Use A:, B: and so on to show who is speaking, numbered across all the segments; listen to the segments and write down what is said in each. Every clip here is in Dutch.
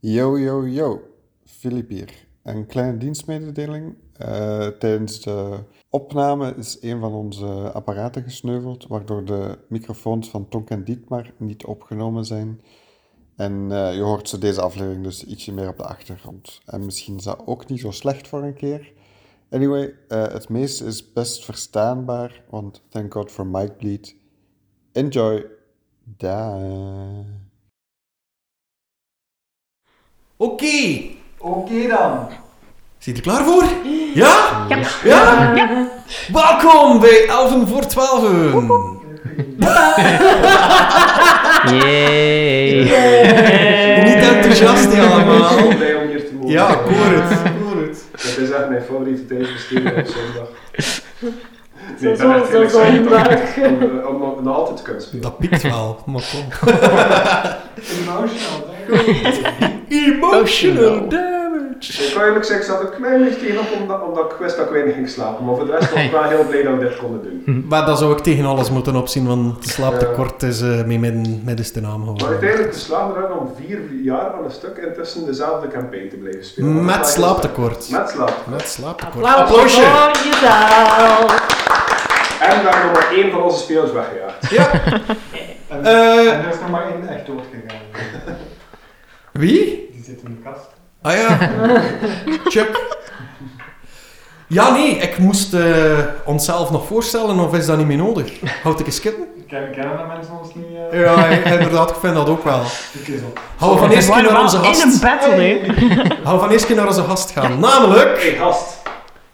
A: Yo, yo, yo. Filip hier. Een kleine dienstmededeling. Eh, tijdens de opname is een van onze apparaten gesneuveld, waardoor de microfoons van Tonk en Dietmar niet opgenomen zijn. En eh, je hoort ze deze aflevering dus ietsje meer op de achtergrond. En misschien is dat ook niet zo slecht voor een keer. Anyway, eh, het meeste is best verstaanbaar, want thank god for mic bleed. Enjoy. Daag.
B: Oké.
C: Oké dan.
B: Zit je er klaar voor? Ja? Ja. ja? Welkom bij Elven voor 12.
D: Yay!
B: Niet enthousiast hè,
E: Ik ben zo
B: allemaal.
E: blij om hier te mogen.
B: Ja, ik hoor het. ik hoor het.
E: Het is echt mijn favoriete tijdsbesteding op zondag.
F: Zo,
E: ik
F: zo,
E: ben echt
F: zo,
E: heel
F: zo,
E: excited
F: vandaag.
E: Om, eh, om, om, nog altijd te kunnen spelen.
B: Dat pikt wel, maar kom.
C: Emotional, hè?
B: Emotional damage.
E: Ik kan eerlijk zeggen, ik zat een klein beetje tegenop omdat, omdat ik wist dat ik weinig ging slapen. Maar voor de rest was ik wel heel blij dat we dit konden doen.
B: Maar dat zou ik tegen alles moeten opzien, want het slaaptekort is eh mee midden, middenste naam
E: Maar
B: geworden.
E: uiteindelijk slapen we erin om vier jaar aan een stuk intussen dezelfde campaign te blijven spelen. Want
B: Met
E: dat is-
B: slaaptekort.
E: Met slaap.
B: Met slaaptekort.
F: Applaus
B: Applausje.
F: voor jezelf.
E: En daar nog maar één van onze spelers weggejaagd.
C: En,
B: Eh,
C: en er is nog maar één echt doodgegaan.
B: Wie?
C: Die zit in de kast.
B: Ah ja. Chuck. Ja, nee, ik moest eh, onszelf nog voorstellen, of is dat niet meer nodig? Houd ik eens kitten?
C: Ken, kennen dat mensen ons niet? eh
B: Ja, inderdaad, ik vind dat ook wel.
C: Die kiezel.
B: Hou van eerst keer naar onze
D: in een
B: gast.
D: battle, hè?
B: Hou van eerst keer naar onze gast gaan. Namelijk.
E: Hey gast,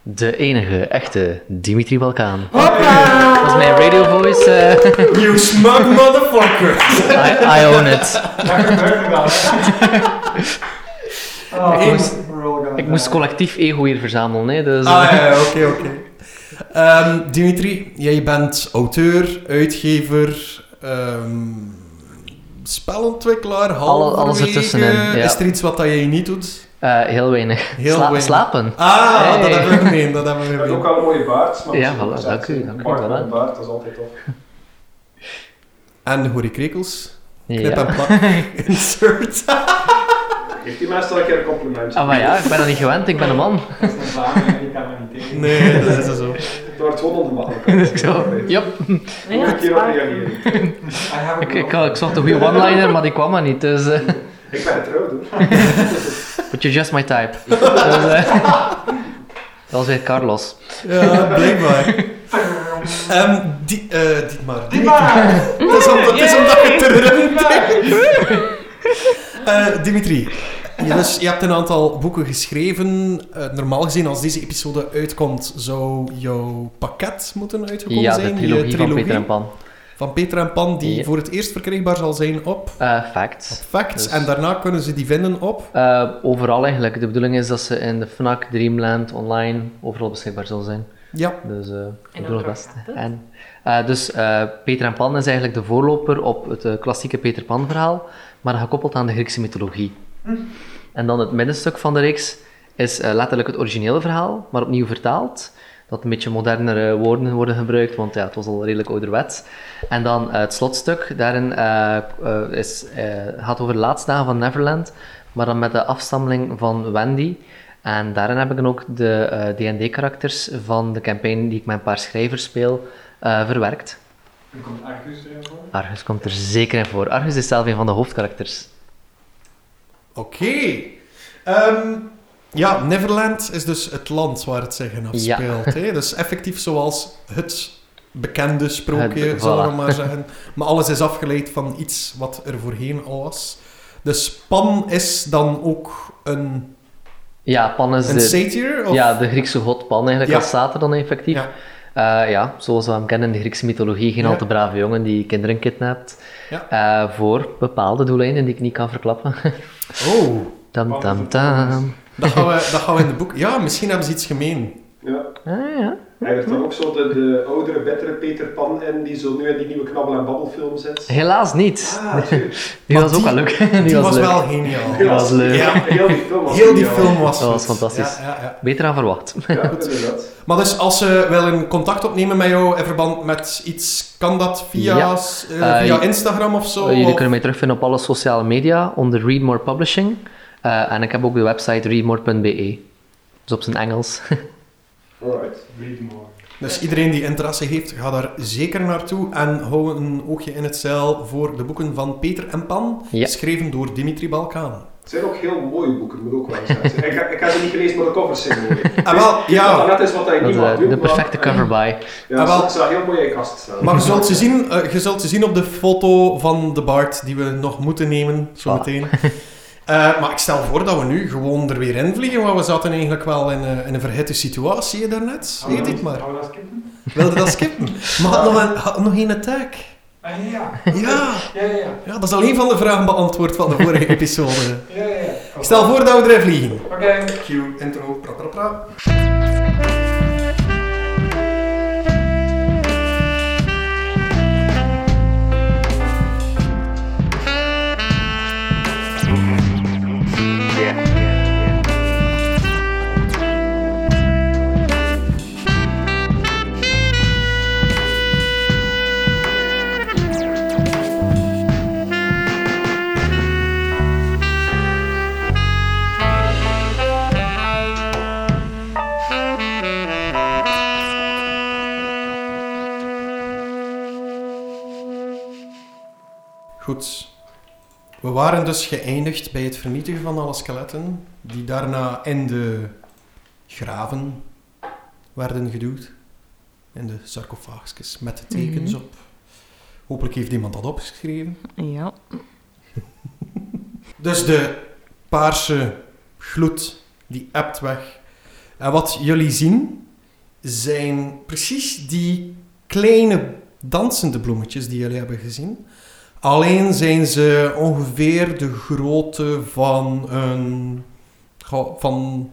D: De enige echte Dimitri Balkaan.
F: Hoppa.
D: Dat is mijn radio voice. eh,
B: You smug motherfucker.
D: I, I own it.
C: Dat gebeurt nog wel. hè? Oh,
D: Ik
C: ik
D: moest- Ik moest collectief ego hier verzamelen, hè? Dus,
B: Ah
D: eh,
B: ja, ja, oké, oké. Ehm, Dimitri, jij bent auteur, uitgever, ehm, spelontwikkelaar, halverwege.
D: alles ertussenin, ja.
B: Is er iets wat dat jij niet doet?
D: eh, heel weinig.
B: Heel
D: Sla-
B: weinig.
D: Slapen.
B: Ah,
D: Hey.
B: dat hebben we gemeen, dat hebben we
E: je hebt ook
B: gemeen.
E: al een mooie baard. maar
D: Ja,
E: misschien
D: voilà,
E: moet je
D: dank u,
E: zelf
D: dank u,
E: Een baard
D: voilà.
E: met een baard, dat is altijd tof.
B: En Gorie Krekels, knip
D: Ja.
B: en plak, insert.
E: Geef die mensen al een keer een compliment.
D: Ah, maar ja, ik ben dat niet gewend, ik ben een man.
C: Dat is een Vlaming en die kan me niet tegen.
B: Nee, dat is dus zo.
E: Het wordt gewoon ongemakkelijk.
D: Dus zo, Yep.
E: Moet
F: Ja,
E: ik hierop reageren?
C: I have a
D: Ik, ik,
C: girl.
D: ik zocht een goede one-liner, maar die kwam maar niet. Dus, eh,
E: Ik ben getrouwd hoor.
D: but you're just my type. Dus, eh, dat was weer Carlos.
B: Ja, blijkbaar. Ehm die, eh Dietmar.
C: Dietmar!
B: Het is, omdat, het is omdat je terug Eh Dimitri, je, dus, je hebt een aantal boeken geschreven. Eh, normaal gezien, als deze episode uitkomt, zou jouw pakket moeten uitgekomen
D: Ja, de
B: zijn.
D: trilogie,
B: je
D: van Peter en Pan.
B: van Peter en Pan, die
D: Ja.
B: voor het eerst verkrijgbaar zal zijn op
D: Eh, facts.
B: Facts.
D: Dus-
B: En daarna kunnen ze die vinden op...
D: Eh, overal eigenlijk. De bedoeling is dat ze in de FNAC, Dreamland, online, overal beschikbaar zullen zijn.
B: Ja.
D: Dus eh ik doe
F: andere
D: het best.
F: pakketten.
D: En, eh, dus eh, Peter en Pan is eigenlijk de voorloper op het eh, klassieke Peter Pan verhaal, maar gekoppeld aan de Griekse mythologie. En dan het middenstuk van de reeks is eh, letterlijk het originele verhaal, maar opnieuw vertaald. Dat een beetje modernere woorden worden gebruikt, want ja, het was al redelijk ouderwets. En dan eh, het slotstuk, daarin eh, eh, is, eh, gaat over de laatste dagen van Neverland, maar dan met de afstammeling van Wendy. En daarin heb ik dan ook de eh, D&D-karakters van de campaign die ik met een paar schrijvers speel, eh, verwerkt.
C: Er komt Argus erin voor.
D: Argus komt er zeker in voor. Argus is zelf een van de hoofdkarakters.
B: Oké. Ehm, ja, Neverland is dus het land waar het zich in
D: Ja.
B: afspeelt. hè. Dus effectief zoals het bekende sprookje,
D: Het-
B: zullen we
D: voilà.
B: maar zeggen. Maar alles is afgeleid van iets wat er voorheen al was. Dus Pan is dan ook een,
D: Ja, Pan is
B: een
D: de,
B: satyr? Of?
D: ja, de Griekse god Pan eigenlijk,
B: Ja.
D: als Sater dan effectief.
B: Ja.
D: Eh, ja, zoals we hem kennen in de Griekse mythologie, geen
B: Ja.
D: al te brave jongen die kinderen kidnapt.
B: Ja.
D: Eh, voor bepaalde doeleinden die ik niet kan verklappen.
B: Oh,
D: tam tam tam.
B: dat gaan, we, dat gaan we in de boek... Ja, misschien hebben ze iets gemeen.
E: Ja.
D: Ah, ja.
E: Hij heeft dan ook zo de, de oudere, betere Peter Pan in, die zo nu in die nieuwe knabbel- en babbelfilm zit.
D: Helaas niet.
E: Ah, tuurlijk.
D: Die
B: Maar
D: was ook
B: die-
D: wel leuk. Die,
B: Die was,
D: leuk.
B: wel geniaal.
D: Die was leuk.
B: Ja.
E: Heel die film was
B: Heel die
E: geniaal.
B: film was
D: Dat was
B: goed.
D: fantastisch.
B: Ja, ja, ja.
D: Beter dan verwacht.
E: Ja, inderdaad.
B: Maar dus als ze willen contact opnemen met jou in verband met iets, kan dat via,
D: Ja.
B: eh,
D: Eh,
B: via Instagram of zo?
D: Jullie
B: Of-
D: kunnen mij terugvinden op alle sociale media onder Read More Publishing. Eh, Eh, en ik heb ook de website readmore.be. Dus op zijn Engels.
E: Alright.
C: Read more.
B: Dus iedereen die interesse heeft, ga daar zeker naartoe. En hou een oogje in het zeil voor de boeken van Peter en Pan,
D: Ja.
B: geschreven door Dimitri Balkaan.
E: Het zijn ook heel mooie boeken, moet ik ook wel zeggen. ik, heb- ik heb ze niet gelezen, maar de covers zijn mooi.
B: Ah, wel, ja.
E: Dat is wat hij
D: Dat,
E: niet
D: eh,
E: mag doen.
D: de
E: maar-
D: perfecte cover by.
E: Ja,
B: Ah, wel.
E: ze staan heel mooi in je kast staan.
B: Maar je zult, ze zien, eh, je zult ze zien op de foto van de Bart, die we nog moeten nemen, zo
D: Voilà.
B: meteen. Eh, maar ik stel voor dat we nu gewoon er weer in vliegen, want we zaten eigenlijk wel in, eh, in een verhitte situatie hè, daarnet. Nee, dit maar.
C: Gaan we dat skippen?
B: Wilde dat skippen? Maar had nog, een, had nog geen attack.
C: Ah, ja.
B: Ja,
C: Ja, ja, ja.
B: ja, dat is alleen van de vragen beantwoord van de vorige episode.
C: ja, ja, ja.
B: Ik stel voor dat we erin vliegen.
C: Oké.
B: Cue, intro, pra pra pra. Goed. We waren dus geëindigd bij het vernietigen van alle skeletten, die daarna in de graven werden geduwd. In de sarcofaagjes met de tekens
F: Mhm.
B: op. Hopelijk heeft iemand dat opgeschreven.
F: Ja.
B: Dus de paarse gloed, die ebt weg. En wat jullie zien, zijn precies die kleine dansende bloemetjes die jullie hebben gezien. Alleen zijn ze ongeveer de grootte van een... goh, van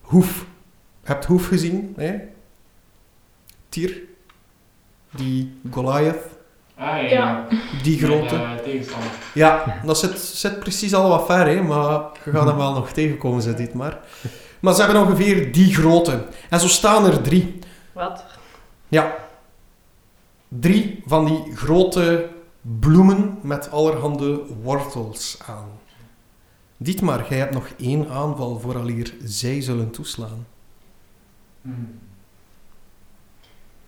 B: hoef. Je hebt hoef gezien, hè? Tier. Die Goliath.
C: Ah, ja.
F: Ja.
B: Die grootte.
C: Mijn, eh, tegenstander.
B: Ja, dat zit, zit precies al wat ver, hè, maar je gaat hem wel nog tegenkomen, zit dit maar. Maar ze hebben ongeveer die grootte. En zo staan er drie.
F: Wat?
B: Drie van die grote bloemen met allerhande wortels aan. Dietmar, jij hebt nog één aanval vooraleer zij zullen toeslaan.
C: Hmm.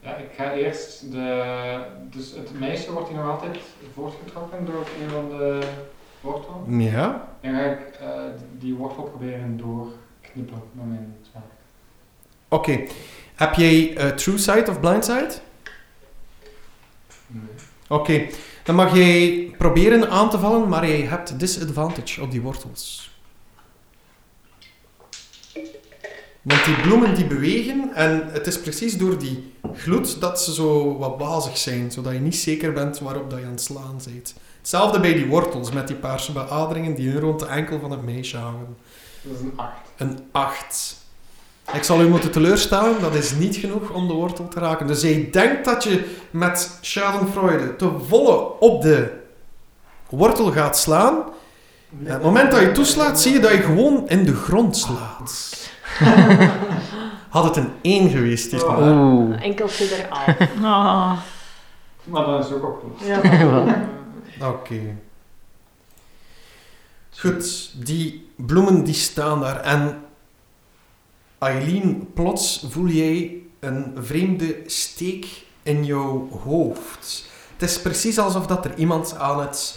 C: Ja, ik ga eerst de... Dus het meisje wordt hier nog altijd voortgetrokken door een van de wortels.
B: Ja?
C: En ga ik eh, die wortel proberen doorknippen met mijn zwaard.
B: Oké. Heb jij eh, True Sight of Blind Sight?
C: Nee.
B: Oké. Dan mag jij proberen aan te vallen, maar jij hebt disadvantage op die wortels. Want die bloemen die bewegen en het is precies door die gloed dat ze zo wat bazig zijn, zodat je niet zeker bent waarop dat je aan het slaan bent. Hetzelfde bij die wortels met die paarse beaderingen die hun rond de enkel van het meisje hangen.
C: Dat is een 8.
B: Een 8. Ik zal u moeten teleurstellen, dat is niet genoeg om de wortel te raken. Dus jij denkt dat je met Schadenfreude te volle op de wortel gaat slaan. En het moment dat je toeslaat, zie je dat je gewoon in de grond slaat. Had het een 1 geweest, dit maar.
D: Oeh.
F: Enkel verder af. Ah.
C: Maar dat is ook opgelost.
F: Ja.
B: Oké. Goed, die bloemen die staan daar. En Aileen, plots voel jij een vreemde steek in jouw hoofd. Het is precies alsof dat er iemand aan het,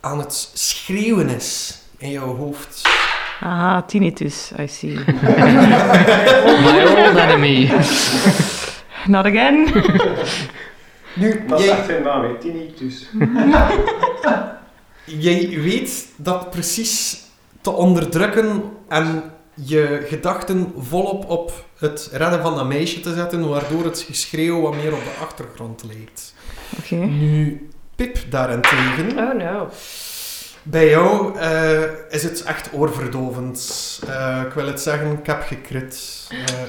B: aan het schreeuwen is in jouw hoofd.
F: Aha, tinnitus, I see.
D: My old enemy.
F: Not again.
B: Nu,
E: Dat is
B: jij,
E: echt zijn naam, hè. Tinnitus.
B: Jij weet dat precies te onderdrukken en je gedachten volop op het redden van dat meisje te zetten, waardoor het geschreeuw wat meer op de achtergrond lijkt.
F: Oké.
B: Nu, Pip daarentegen,
F: Oh no.
B: bij jou eh, is het echt oorverdovend. Eh, ik wil het zeggen, ik heb gekrit.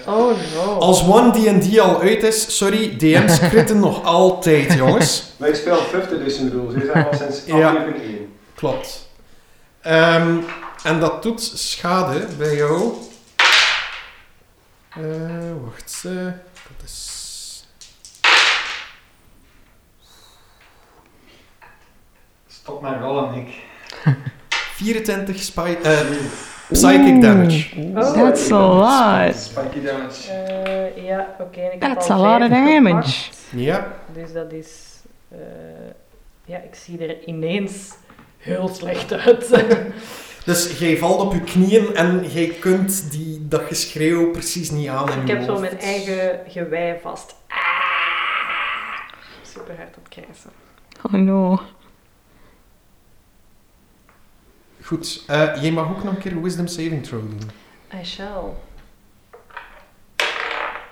B: Eh,
F: Oh no.
B: als One D&D al uit is, sorry, DM's kritten nog altijd, jongens.
E: Wij spelen 50 Edition Rules. dus Ze zijn al sinds
B: Ja.
E: aflevering 1.
B: Klopt. Ehm, en dat doet schade bij jou. Eh, wacht, eh, dat is...
C: Stop met rollen, ik.
B: 24 spy, eh, psychic damage.
F: That's a lot.
E: Spiky damage.
G: Eh, ja, oké. en ik heb
F: That's
G: al
F: a lot of
G: vijf
F: damage.
G: gepakt.
B: Ja.
G: Dus dat is... eh, ja, ik zie er ineens heel slecht uit.
B: Dus jij valt op je knieën en jij kunt die, dat geschreeuw precies niet aan. in
G: ik
B: je
G: heb zo
B: hoofd.
G: mijn eigen gewei vast. Super hard aan het krijsen.
F: Oh no.
B: Goed, eh, jij mag ook nog een keer Wisdom Saving Throw doen.
G: I shall.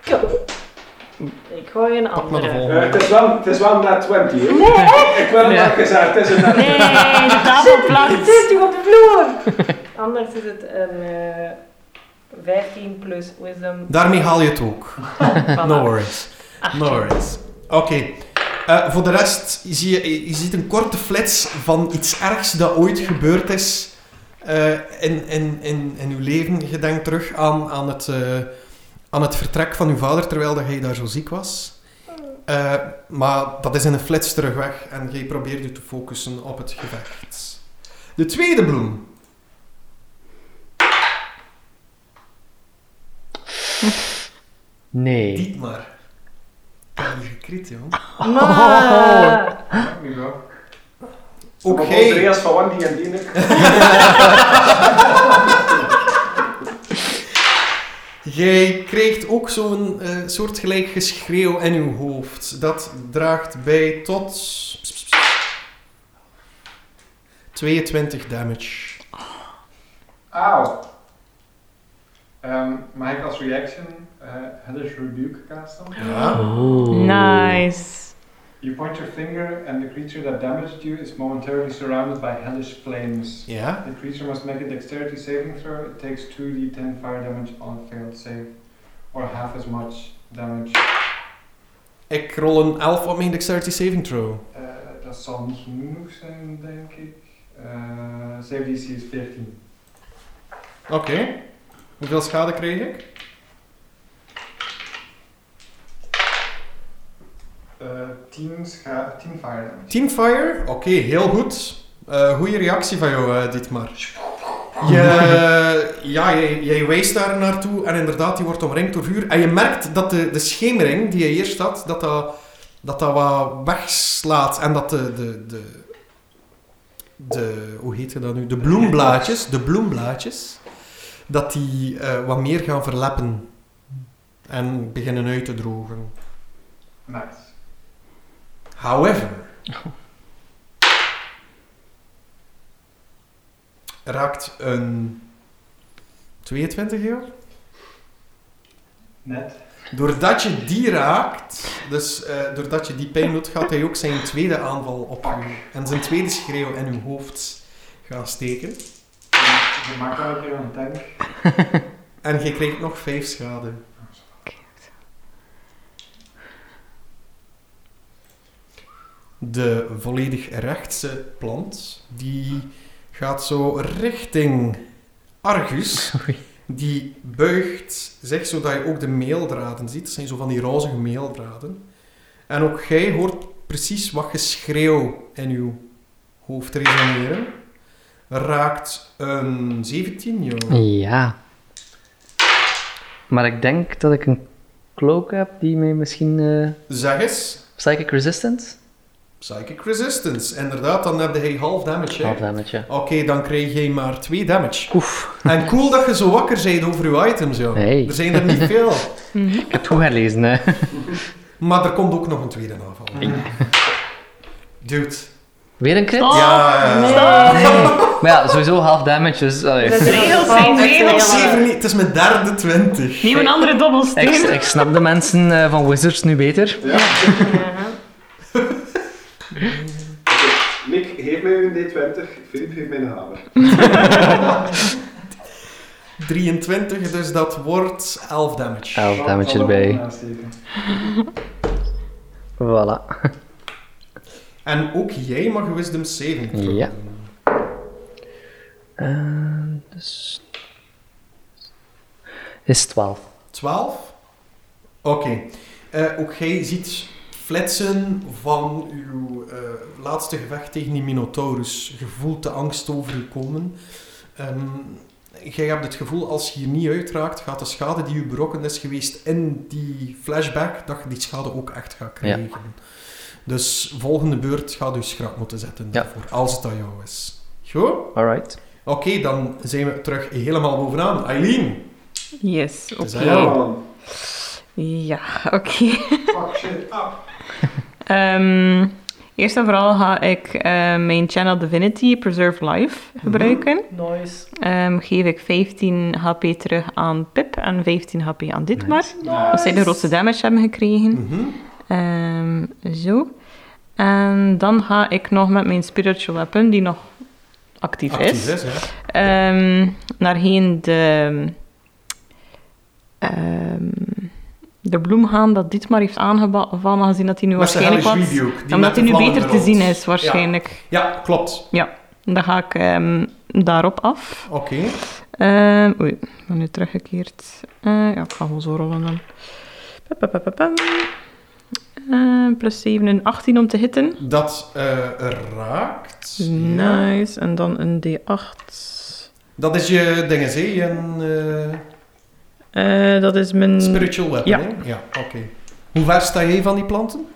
G: Go. Ik gooi een
B: Pak maar de
G: andere.
E: Eh,
B: volgende.
E: het, is wel, het is wel na 20. hè. Ik wil het
D: Ja.
E: net gezegd, het is een net
F: Nee, de tafel
G: Het
F: plakt.
G: zit toch op de vloer? Anders is het een eh 15 plus wisdom.
B: Daarmee haal je het ook. No worries. No worries. Oké. Eh, voor de rest zie je, je ziet een korte flits van iets ergs dat ooit gebeurd is eh, in, in, in, in uw leven. Je denkt terug aan, aan, het, eh, aan het vertrek van uw vader terwijl dat hij daar zo ziek was. Eh, maar dat is in een flits terug weg en jij probeert je te focussen op het gevecht. De tweede bloem.
D: Nee.
B: Niet maar. Ik heb die gekrit, jong.
G: Maar...
C: Nu wel.
B: Ook
E: Oké.
B: jij-
E: Andreas van Wandy en Dienik.
B: Jij krijgt ook zo'n eh soortgelijk geschreeuw in uw hoofd. Dat draagt bij tot 22 damage.
C: Auw. Ehm, maar ik als reaction eh Hellish Rebuke casten.
B: Ja.
D: Oeh.
F: Nice.
C: You point your finger and the creature that damaged you is momentarily surrounded by hellish flames.
B: Ja.
C: The creature must make a dexterity saving throw. It takes 2d10 fire damage on a failed save, or half as much damage.
B: Ik rol een 11 op mijn dexterity saving throw.
C: Eh, dat zal niet genoeg zijn, denk ik. Eh save DC is 14.
B: Oké. Hoeveel schade kreeg ik?
C: Eh 10, scha- 10 fire damage.
B: Teamfire, oké, heel goed. Eh goede reactie van jou, eh, Dietmar. Je, ja, jij, jij wijst daar naartoe en inderdaad, die wordt omringd door vuur. En je merkt dat de, de schemering die je eerst had, dat dat, dat, dat wat wegslaat. En dat de, de, de, de, hoe heet je dat nu? De bloemblaadjes, de bloemblaadjes, dat die eh, wat meer gaan verleppen. En beginnen uit te drogen.
C: Nice.
B: However. Raakt een 22 jaar?
C: Net.
B: Doordat je die raakt, dus eh, doordat je die pijn doet, gaat hij ook zijn tweede aanval op u en zijn tweede schreeuw in uw hoofd gaan steken.
C: Je maakt wel een keer een tank.
B: En je krijgt nog 5 schade. De volledig rechtse plant, die gaat zo richting Argus. Die buigt zich, zodat je ook de meeldraden ziet. Dat zijn zo van die rozige meeldraden. En ook jij hoort precies wat geschreeuw in je hoofd resoneren. Raakt een 17, joh.
D: Ja. Maar ik denk dat ik een cloak heb die mij misschien... eh,
B: Zeg eens.
D: psychic resistant?
B: Psychic Resistance. Inderdaad, dan heb je half damage. hè.
D: Half damage, ja.
B: Oké, dan krijg je maar 2 damage.
D: Oef.
B: En cool dat je zo wakker bent over je items, joh.
D: Hey.
B: Er zijn er niet veel.
D: Ik heb het goed herlezen, hè.
B: Maar er komt ook nog een tweede aanval. Dude.
D: Weer een crit?
F: Oh,
B: ja.
D: Maar ja, sowieso half damage, dus... allee.
G: Dat is
F: Regels
G: een
F: zijn
G: val.
B: Nog
F: regels.
B: zeven niet. Het is mijn derde 20.
F: Nieuw een andere
D: Ik,
F: dobbelsteen.
D: ik snap de mensen eh, van Wizards nu beter.
G: Ja.
E: Nick, geef mij een D20. Filip geeft mij een hamer.
B: 23, dus dat wordt 11 damage.
D: 11 damage erbij. Voilà.
B: En ook jij mag Wisdom 7 throw
D: Ja.
B: doen.
D: Ehm, dus... Is 12.
B: 12. Oké. Eh, ook jij ziet flitsen van uw eh, laatste gevecht tegen die Minotaurus. Je voelt de angst over u komen. Ehm, jij hebt het gevoel, als je hier niet uitraakt, gaat de schade die u berokkend is geweest in die flashback, dat je die schade ook echt gaat krijgen. Dus volgende beurt gaat u schrap moeten zetten,
D: Ja.
B: daarvoor, als het aan jou is. Goed?
D: Alright.
B: Oké, dan zijn we terug helemaal bovenaan. Eileen!
F: Yes, oké.
B: Het is
C: Ja,
B: aan jou.
C: man.
F: Ja, oké.
C: Fuck shit up.
F: Ehm, eerst en vooral ga ik eh, mijn channel Divinity Preserve Life
B: Mhm.
F: gebruiken.
G: Nice.
F: Ehm, geef ik 15 HP terug aan Pip en 15 HP aan Ditmar.
C: Ja.
F: Als zij de grootste damage hebben gekregen.
B: Mhm.
F: Ehm, zo. En dan ga ik nog met mijn spiritual weapon, die nog actief,
B: Actief
F: is,
B: is, ja.
F: ehm, naarheen de, ehm, de bloem gaan dat dit maar heeft aangevallen, gezien dat hij nu
B: Met zijn
F: waarschijnlijk
B: hellish
F: wat...
B: rebuke, die met
F: Omdat
B: de
F: hij nu
B: vlammen
F: beter te
B: rolt.
F: zien is, waarschijnlijk.
B: Ja, klopt.
F: Dan ga ik ehm, daarop af.
B: Oké.
F: Ehm oei, ik ben nu teruggekeerd. Eh, ja, ik ga gewoon zo rollen dan. Pa, pa, pa, pa, pam. Eh, plus 7 en 18 om te hitten.
B: Dat eh, raakt.
F: Nice. En dan een D8.
B: Dat is je dinges, hè? Je eh,
F: Eh, dat is mijn...
B: spiritual weapon,
F: Ja.
B: hè? Ja, oké. Hoe ver sta jij van die planten?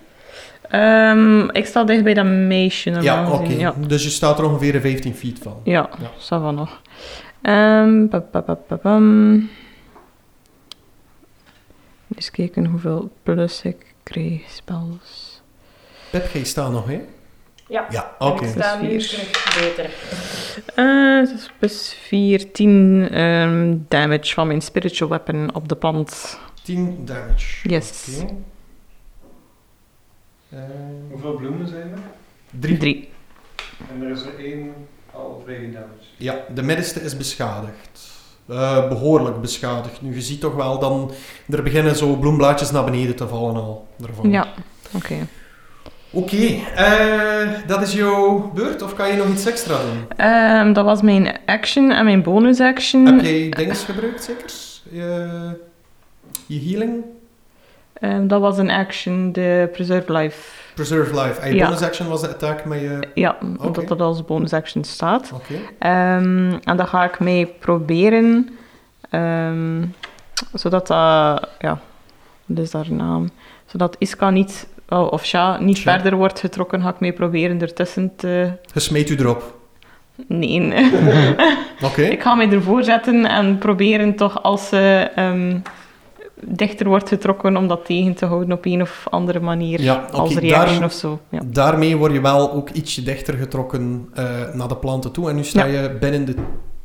F: Ehm, ik sta dicht bij dat meisje normaal
B: ja, oké.
F: gezien, Ja,
B: Dus je staat er ongeveer 15 feet van.
F: ja,
B: Ja.
F: ça va nog. Ehm pa, pa, pa, pa, pam. Eens kijken hoeveel plus ik kreeg. Spels.
B: Pep, jij staat nog, hè?
G: Ja.
B: Ja,
G: En
B: oké.
G: Ik sta nu
F: Dus vier.
G: terug beter.
F: Eh, dat is plus 14 ehm, damage van mijn spiritual weapon op de plant.
B: 10 damage.
F: Yes.
B: Oké. Eh,
C: Hoeveel bloemen zijn er?
B: drie.
F: Drie.
C: En er is er één al vrij damage.
B: Ja, de middenste is beschadigd. Eh, behoorlijk beschadigd. Nu, je ziet toch wel dan... Er beginnen zo bloemblaadjes naar beneden te vallen al. Ervan.
F: Ja, oké.
B: Oké, eh, dat is jouw beurt? Of kan je nog iets extra doen?
F: Ehm, dat was mijn action en mijn bonus action.
B: Heb jij dinges gebruikt, zeker? Je, je healing?
F: Ehm, dat was een action, de Preserve Life.
B: Preserve life. En je
F: Ja.
B: bonus action was de attack met je...
F: Ja,
B: Oké.
F: omdat dat als bonus action staat.
B: Oké.
F: Ehm, en dat ga ik mee proberen, ehm, zodat dat, ja, wat is daar naam? Zodat Iska niet, oh, of Sha niet
B: Sha.
F: verder wordt getrokken, ga ik mee proberen ertussen te...
B: Je smijt u erop.
F: Nee,
B: Oké.
F: Ik ga mij ervoor zetten en proberen toch als ze ehm, dichter wordt getrokken om dat tegen te houden op een of andere manier.
B: Ja, oké.
F: als reaction
B: daarom-
F: of zo. Ja.
B: Daarmee word je wel ook ietsje dichter getrokken eh, naar de planten toe. En nu sta je binnen de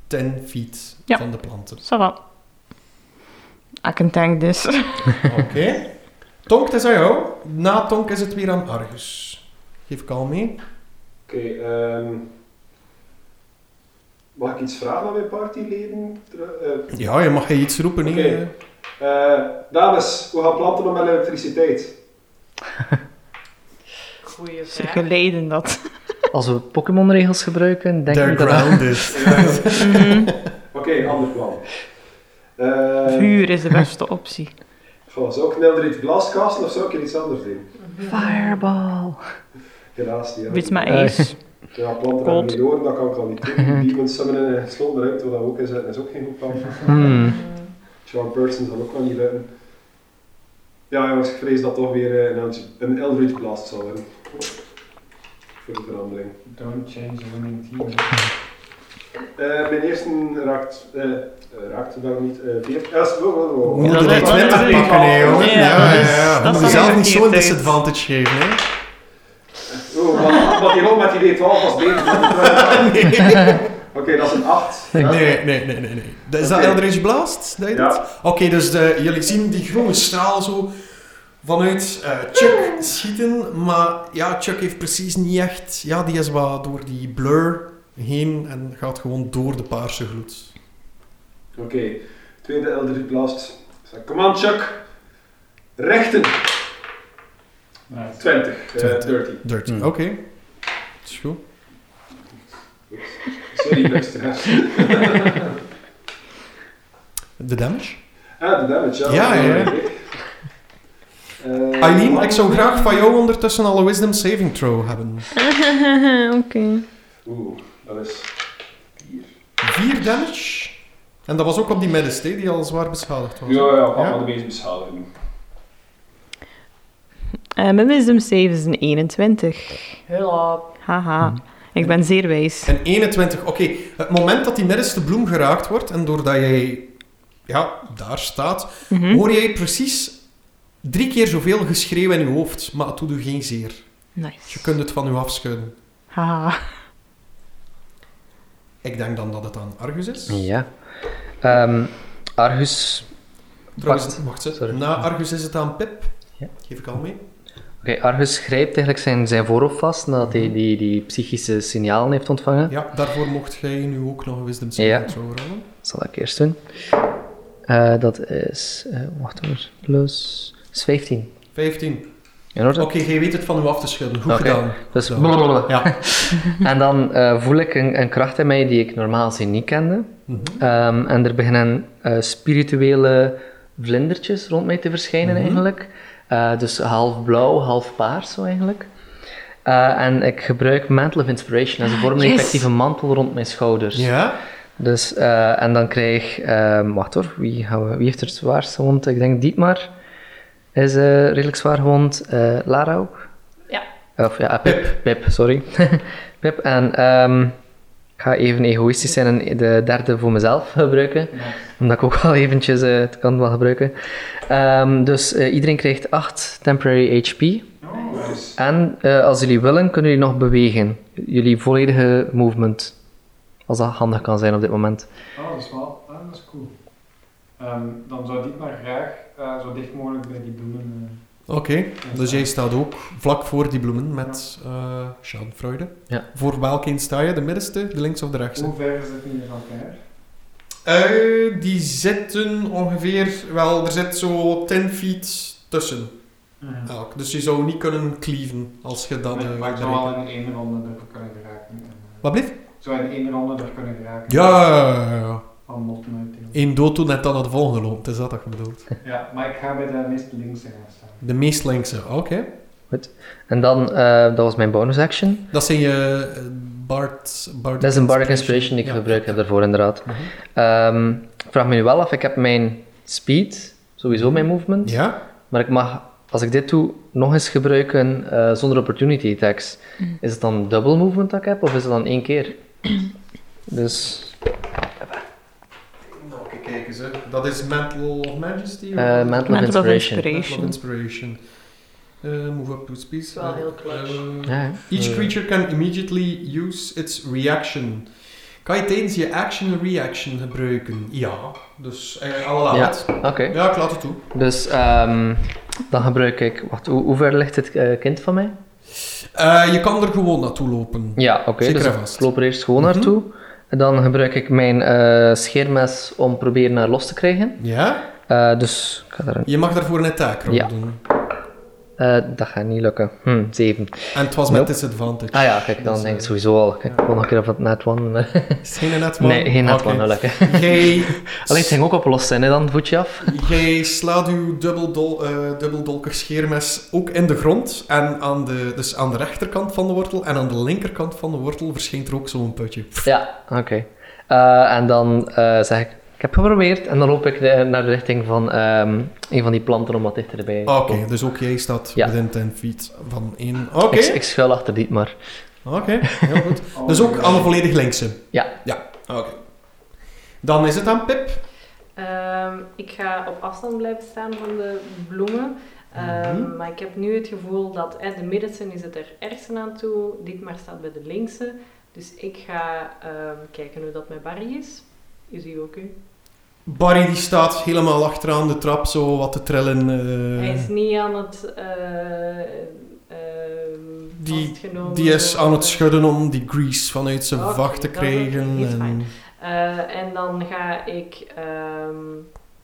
B: 10 feet
F: Ja.
B: van de planten.
F: Ça va. I can tank dus. this.
B: Oké. Tonk, het is aan jou. Na Tonk is het weer aan Argus. Geef ik al mee.
C: Oké, ehm... Mag ik iets vragen aan mijn partyleden? Eh,
B: Ja, je mag je iets roepen. hè.
C: Oké. eh, dames, hoe gaan planten om met elektriciteit?
G: Goeie
F: Ze
G: vraag.
F: geleiden dat.
D: Als we Pokémon-regels gebruiken, denk
B: They're
D: ik dat...
B: grounded.
C: Eh,
F: Mhm.
C: Oké, ander plan. Eh
F: Vuur is de beste optie.
C: goh, zou ik Nelder iets blast casten of zou ik er iets anders doen?
D: Fireball.
C: Helaas, die
F: Weet maar
D: Eh,
F: eens.
C: Ja, planten
F: Klopt.
C: hebben niet door, dat kan ik al niet doen. Demons summonen in een gesloten ruimte, eh, waar dat ook in zitten, is ook geen goed plan.
D: Hmm.
C: Sean Person zal ook wel niet lukken. Ja, jongens, ik vrees dat toch weer eh, een, Eldritch- een Eldritch Blast zal worden. Voor de verandering.
H: Don't change the winning team.
C: Eh, mijn eerste raakt, eh, eh, raakt wel niet. eh 14. Eh, oh, oh,
B: We
C: oh.
B: moeten
F: dat
B: die
F: is- dat is-
B: 20 pakken, hè, jongen.
F: Ja,
B: Ja, ja,
F: dat is-
B: ja.
F: dat
B: Moet
F: is
B: je zelf
F: een
B: niet zo'n
F: verkeerd
B: disadvantage geven, hè.
C: Oh, wat, wat die rol met die D12 was beter dan die 12.
B: Nee,
C: Oké, dat is een 8.
B: nee, nee, nee, nee. nee. Is dat
C: Oké.
B: Eldridge Blast? Dat je
C: Ja.
B: dat? Oké, dus de, jullie zien die groene straal zo vanuit eh, Chuck schieten. Maar ja, Chuck heeft precies niet echt... Ja, die is wat door die blur heen en gaat gewoon door de paarse gloed.
C: Oké, tweede Eldritch Blast. Ik zeg, Come on, Chuck. Rechten.
H: Nice.
C: 20. eh,
B: 20.
C: 30.
B: Dirty.
I: Hmm.
B: Oké. Is goed.
C: Sorry, luisteraars.
B: De damage?
C: Ah, de damage, ja. Ah,
B: Ja, ja.
E: Eh,
B: Aileen, ik zou graag van jou ondertussen al een wisdom saving throw hebben.
F: Oké.
E: Oeh, dat is... Hier.
B: 4 damage. En dat was ook op die middenste, hè, die al zwaar beschadigd was.
E: Ja, ja, pak
B: Ja.
E: maar de meest beschadigen.
F: Eh, mijn wisdom save is een 21.
G: Hulp.
F: Haha.
D: Hmm.
F: Ik ben zeer wijs.
B: En 21, oké. Het moment dat die middenste bloem geraakt wordt en doordat jij ja, daar staat,
D: Hm?
F: Mhm.
B: hoor jij precies drie keer zoveel geschreeuw in je hoofd, maar het doet u geen zeer. Je
F: Nice.
B: kunt het van u afschudden.
F: Haha.
B: Ik denk dan dat het aan Argus is.
D: Ja. Ehm, Argus.
B: Trouwens,
D: Wacht.
B: wacht ze.
D: Sorry.
B: Na Argus is het aan Pip.
D: Ja.
B: Geef ik al mee.
D: Oké, Argus grijpt eigenlijk zijn, zijn voorhoofd vast nadat hij die, die psychische signalen heeft ontvangen.
B: Ja, daarvoor mocht jij nu ook nog een wisdom
D: Ja.
B: saving throw rollen.
D: Dat zal ik eerst doen. Eh, dat is. eh, wacht hoor. Plus. dat is 15.
B: 15.
D: In orde?
B: Oké, jij weet het van u af te schudden. Goed
D: Oké.
B: gedaan.
D: Dus
B: Zo.
D: blablabla.
B: Ja.
D: En dan eh, voel ik een, een kracht in mij die ik normaal gezien niet kende.
B: Mhm.
D: Ehm, en er beginnen eh, spirituele vlindertjes rond mij te verschijnen
B: Mhm.
D: eigenlijk. Eh, dus half blauw, half paars zo eigenlijk. Eh, en ik gebruik Mantle of Inspiration als een vorm van
F: Yes.
D: effectieve mantel rond mijn schouders.
B: ja.
D: Dus, eh, en dan krijg ehm wacht hoor, wie, gaan we, wie heeft er het zwaarst gewond? Ik denk Dietmar is eh, redelijk zwaar gewond. Eh, Lara ook?
G: Ja.
D: Of ja, eh, Pip. Pip, sorry. Pip. En ehm, ik ga even egoïstisch zijn en de derde voor mezelf gebruiken. Omdat ik ook al eventjes eh, het kan wel gebruiken. Ehm, dus eh, iedereen krijgt 8 temporary HP.
C: Oh,
E: Nice.
D: En eh, als jullie willen, kunnen jullie nog bewegen. Jullie volledige movement. Als dat handig kan zijn op dit moment.
C: Oh, dat is wel, ah, dat is cool. Ehm, dan zou die maar graag eh, zo dicht mogelijk bij die bloemen. eh,
B: Oké, dus jij staat ook vlak voor die bloemen met eh Schadenfreude.
D: Ja.
B: Voor welke een sta je? De middenste, de links of de
C: eh,
B: rechtste?
C: Hoe ver is het nu van elkaar?
B: Eh, die zitten ongeveer, wel, er zit zo 10 feet tussen elk. Dus je zou niet kunnen cleaven als je dat...
C: Nee,
B: eh,
C: maar ik zou
B: bereikt.
C: wel in één ronde er kunnen geraken. En, eh,
B: Wat blijft?
C: zou in één ronde er kunnen geraken.
B: Ja, ja, ja, ja.
C: Van Motten uit
B: Eén dood toen net dan naar de volgende loopt, is dat dat je bedoelt?
C: Ja, maar ik ga bij de meest linkse gaan staan.
B: De meest linkse, oké.
D: En dan, eh, dat was mijn bonus action.
B: Dat zijn je eh, Bart... Bart
D: Dat is een Bardic Inspiration die ik gebruikt heb daarvoor, inderdaad.
B: Mhm.
D: Ehm, ik vraag me nu wel af, ik heb mijn speed, sowieso mijn movement.
B: Ja?
D: Maar ik mag, als ik dit doe, nog eens gebruiken eh, zonder opportunity attacks. Is het dan dubbel movement dat ik heb, of is het dan één keer? Dus
B: Nou, oké, kijk eens. hè. Dat is Mantle of Majesty?
D: eh Mantle of
F: Mantle of
D: Inspiration.
F: Inspiration.
B: Mantle of Inspiration. Eh, move up to speed.
G: Wel heel clutch.
B: Eh,
D: Ja, ja.
B: Each
D: Eh,
B: creature can immediately use its reaction. Kan je tijdens je action een reaction gebruiken? Ja. Dus, eh al laat
D: Ja.
B: het.
D: Oké,
B: Ja, ik laat het toe.
D: dus ehm, dan gebruik ik... Wacht, hoe, hoe ver ligt het eh, kind van mij?
B: Eh, je kan er gewoon naartoe lopen.
D: Ja, oké.
B: Zeker
D: dus
B: en vast.
D: ik loop er eerst gewoon
B: Mhm.
D: naartoe. En dan gebruik ik mijn eh, scheermes om proberen haar los te krijgen.
B: Ja?
D: Eh, dus ik ga daar een...
B: Je mag daarvoor een attack roll
D: Ja.
B: doen.
D: eh, dat gaat niet lukken. Hm, zeven.
B: En het was met
D: Nope.
B: disadvantage.
D: Ah ja, kijk, dan
B: Dus,
D: denk ik
B: eh,
D: sowieso al. Kijk, volgende keer of het net one.
B: Is het geen net one?
D: nee, geen net
B: Oké.
D: one, nou, lekker.
B: Jij,
D: Alleen het ging ook opgelost zijn, hè, dan voetje af.
B: jij slaat uw dubbeldol, eh, dubbeldolkig scheermes ook in de grond. En aan de, dus aan de rechterkant van de wortel en aan de linkerkant van de wortel verschijnt er ook zo'n putje.
D: Ja, oké. Eh, en dan eh, zeg ik, ik heb geprobeerd. En dan loop ik de- naar de richting van ehm, een van die planten om wat dichterbij te
B: Oké,
D: komen.
B: dus ook jij staat
D: Ja.
B: within 10 feet van één. Oké,
D: Ik, ik schuil achter dit maar.
B: oké, heel goed.
C: Oh,
B: Dus ook
C: ja.
B: aan de volledig linkse?
D: Ja.
B: Ja, oké. Dan is het aan Pip.
G: Ehm, ik ga op afstand blijven staan van de bloemen. Ehm,
B: Mhm.
G: Maar ik heb nu het gevoel dat eh, de middenste is het er ergste aan toe. Dit maar staat bij de linkse. Dus ik ga ehm, kijken hoe dat met Barry is. Is hij ook u?
B: Barry die staat helemaal achteraan de trap, zo wat te trillen. eh.
G: Hij is niet aan het... eh, ehm,
B: Die-
G: vastgenomen
B: Die is
G: door-
B: aan het schudden om die grease vanuit zijn
G: Oké,
B: vacht te
G: dat is-
B: krijgen.
G: is
B: en-
G: fijn. Eh, en dan ga ik ehm,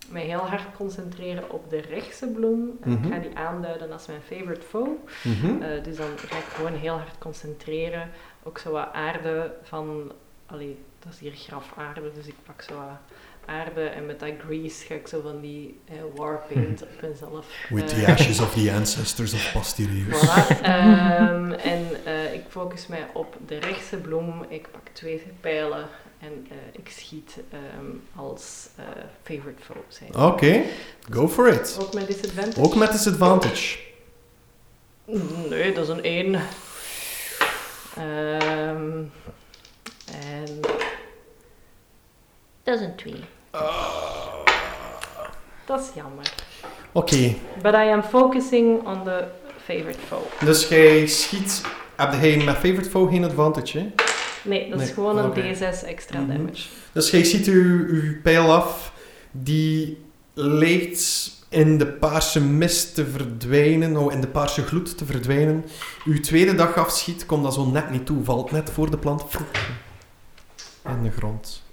G: me heel hard concentreren op de rechtse bloem. En
B: Mhm.
G: Ik ga die aanduiden als mijn favorite foe.
B: Mhm.
G: Eh, dus dan ga ik gewoon heel hard concentreren. Ook zo wat aarde van... Allee, dat is hier grafaarde, dus ik pak zo wat aarde en met dat grease ga ik zo van die eh, war paint op mezelf.
B: With
G: eh,
B: the ashes of the ancestors of Pastirius.
G: Voilà. Ehm, en eh, ik focus mij op de rechtse bloem. Ik pak twee pijlen en eh, ik schiet ehm, als eh, favorite foe zijn.
B: Oké, go for it.
G: Ook met disadvantage?
B: Ook met disadvantage.
G: Nee, dat is een 1. Ehm, en... Dat is een 2. Ah. Dat is jammer.
B: Oké,
G: But I am focusing on the favorite foe.
B: dus jij schiet... Heb jij met favorite foe geen advantage, hè?
G: Nee, dat is
B: Nee,
G: gewoon een
B: oké.
G: D6 extra
B: Mhm.
G: damage.
B: Dus jij ziet uw, uw pijl af, die leegt in de paarse mist te verdwijnen, oh, in de paarse gloed te verdwijnen. Uw tweede dag afschiet, komt dat zo net niet toe, valt net voor de plant in de grond.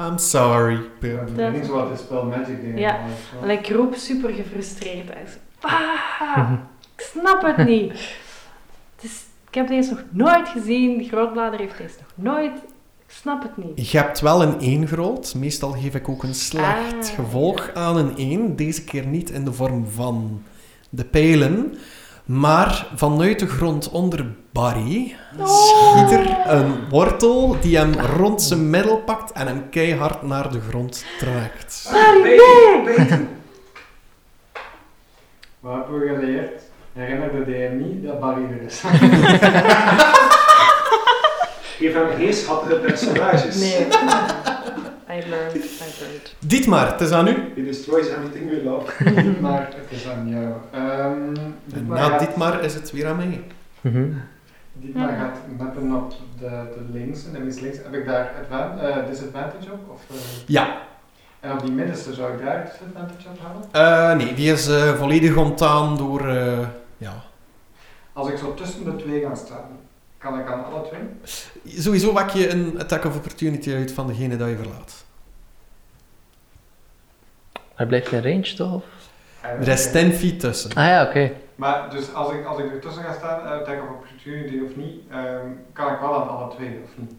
B: I'm sorry.
E: Ja,
G: Dat-
E: dat is wat het spel Magic deed.
G: Ja, En ik roep super gefrustreerd uit.
B: Mhm.
G: Ah, ik snap het niet. Het is, ik heb deze nog nooit gezien. Grootblader heeft deze nog nooit. Ik snap het niet.
B: Je hebt wel een 1 gerold. Meestal geef ik ook een slecht
G: Ah.
B: gevolg aan een 1. Deze keer niet in de vorm van de pijlen. Maar vanuit de grond onder Barry schiet er een wortel die hem rond zijn middel pakt en hem keihard naar de grond trekt.
C: Ah,
G: Ah,
C: Wat hebben we geleerd? Herinner de DM niet dat Barry er is.
E: Geef hem geen schattige personages.
G: Nee. I learned, I learned.
B: Dietmar, het is aan u.
E: He destroys everything we love.
C: maar het is aan jou. Ehm
B: En
C: Dietmar
B: na
C: gaat-
B: Dietmar is het weer aan mij.
D: Mhm.
C: Dietmar gaat mappen op de, de links en de minst links. Heb ik daar advan- eh, disadvantage op? Of, eh,
B: Ja.
C: en op die middenste zou ik daar disadvantage op hebben?
B: Eh, nee, die is eh, volledig ontdaan door... eh, ja.
C: Als ik zo tussen de twee ga staan, kan ik aan alle twee?
B: Sowieso wak je een attack of opportunity uit van degene dat je verlaat.
D: Hij blijft in range, toch? Of?
C: En-
B: Er is 10 feet tussen.
D: Ah ja, oké.
C: Eh, Maar dus als ik, als ik er tussen ga staan, eh attack of opportunity of niet, ehm, kan ik wel aan alle twee of niet?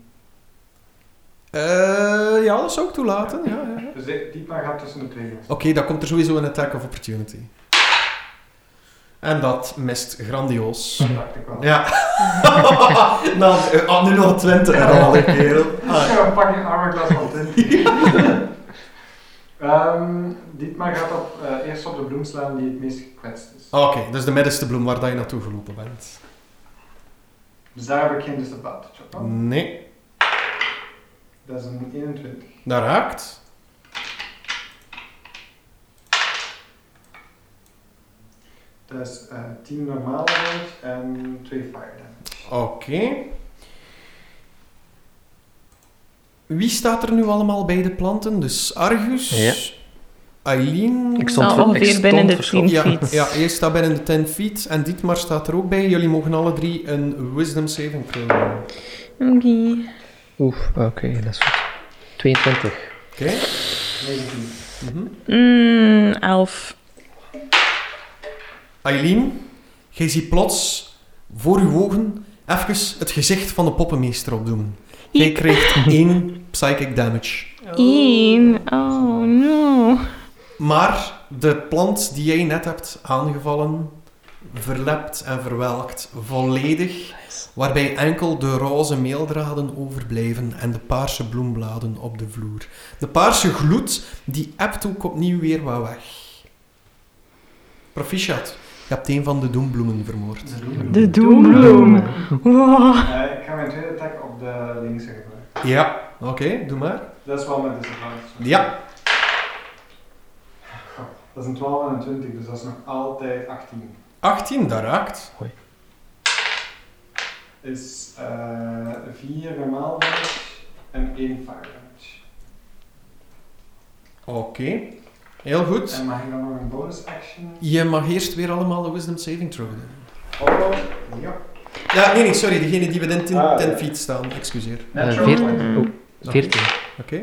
B: Eh, ja, dat zou ik toelaten. Ja, ja. ja. Oké,
C: Dus ik- Dietmar gaat tussen de twee gaan staan.
B: dan komt er sowieso een attack of opportunity. En dat mist grandioos.
C: Dat dacht ik wel.
B: Ja. nou, eh, ah, nu nog 20 herhalen, kerel.
C: Dus
B: Ah,
C: ik ga een pakje armorglas van tin. Ehm, Dietmar gaat op, eh, eerst op de bloem slaan die het meest gekwetst is.
B: Oké, dus de middenste bloem waar dat je naartoe gelopen bent.
C: Dus daar heb ik geen disadvantage op.
B: Mm.
C: hè?
B: Nee,
C: Dat is een 21.
B: dat raakt.
C: Dat is eh 10 normale damage en 2 fire damage.
B: Oké. Wie staat er nu allemaal bij de planten? Dus Argus,
D: Ja.
B: Aileen,
D: Ik
F: Nou,
D: ver-
F: ongeveer
D: stond
F: binnen de
D: verschokt.
F: 10
B: Ja,
F: feet.
B: ja, eerst staat binnen de 10 feet en Dietmar staat er ook bij. Jullie mogen alle drie een wisdom saving throw doen. Oké.
F: Oké.
D: Oef, oké, dat is goed. 22.
C: 19.
B: mhm.
F: Mm, elf.
B: Aileen, jij ziet plots voor uw ogen even het gezicht van de poppenmeester opdoen. Jij
F: Iep.
B: krijgt één psychic damage.
D: Oh.
F: Eén. Oh, no.
B: Maar de plant die jij net hebt aangevallen, verlept en verwelkt volledig, waarbij enkel de roze meeldraden overblijven en de paarse bloembladen op de vloer. De paarse gloed, die ebt ook opnieuw weer wat weg. Proficiat, je hebt een van de doembloemen vermoord.
C: De bloem.
F: De doembloem. Wow.
C: Eh, ik ga mijn tweede attack op de linkse gebruiken.
B: Ja, oké, doe maar.
C: Dat is wel met disadvantage.
B: Ja,
C: Dat is een 12 en een 20, dus dat is nog altijd 18.
B: 18, dat raakt.
C: Is eh 4 normaal damage en 1 fire damage.
B: Oké, heel goed.
C: En mag ik dan nog een bonus action?
B: Je mag eerst weer allemaal de wisdom saving throw doen.
C: Oh, ja.
B: Ja, nee, nee, sorry. Degene die binnen 10
E: Ah, ja.
B: feet staan. Excuseer.
D: Eh,
C: Natural
D: 14.
C: one.
D: Oeh, 14.
B: Oké.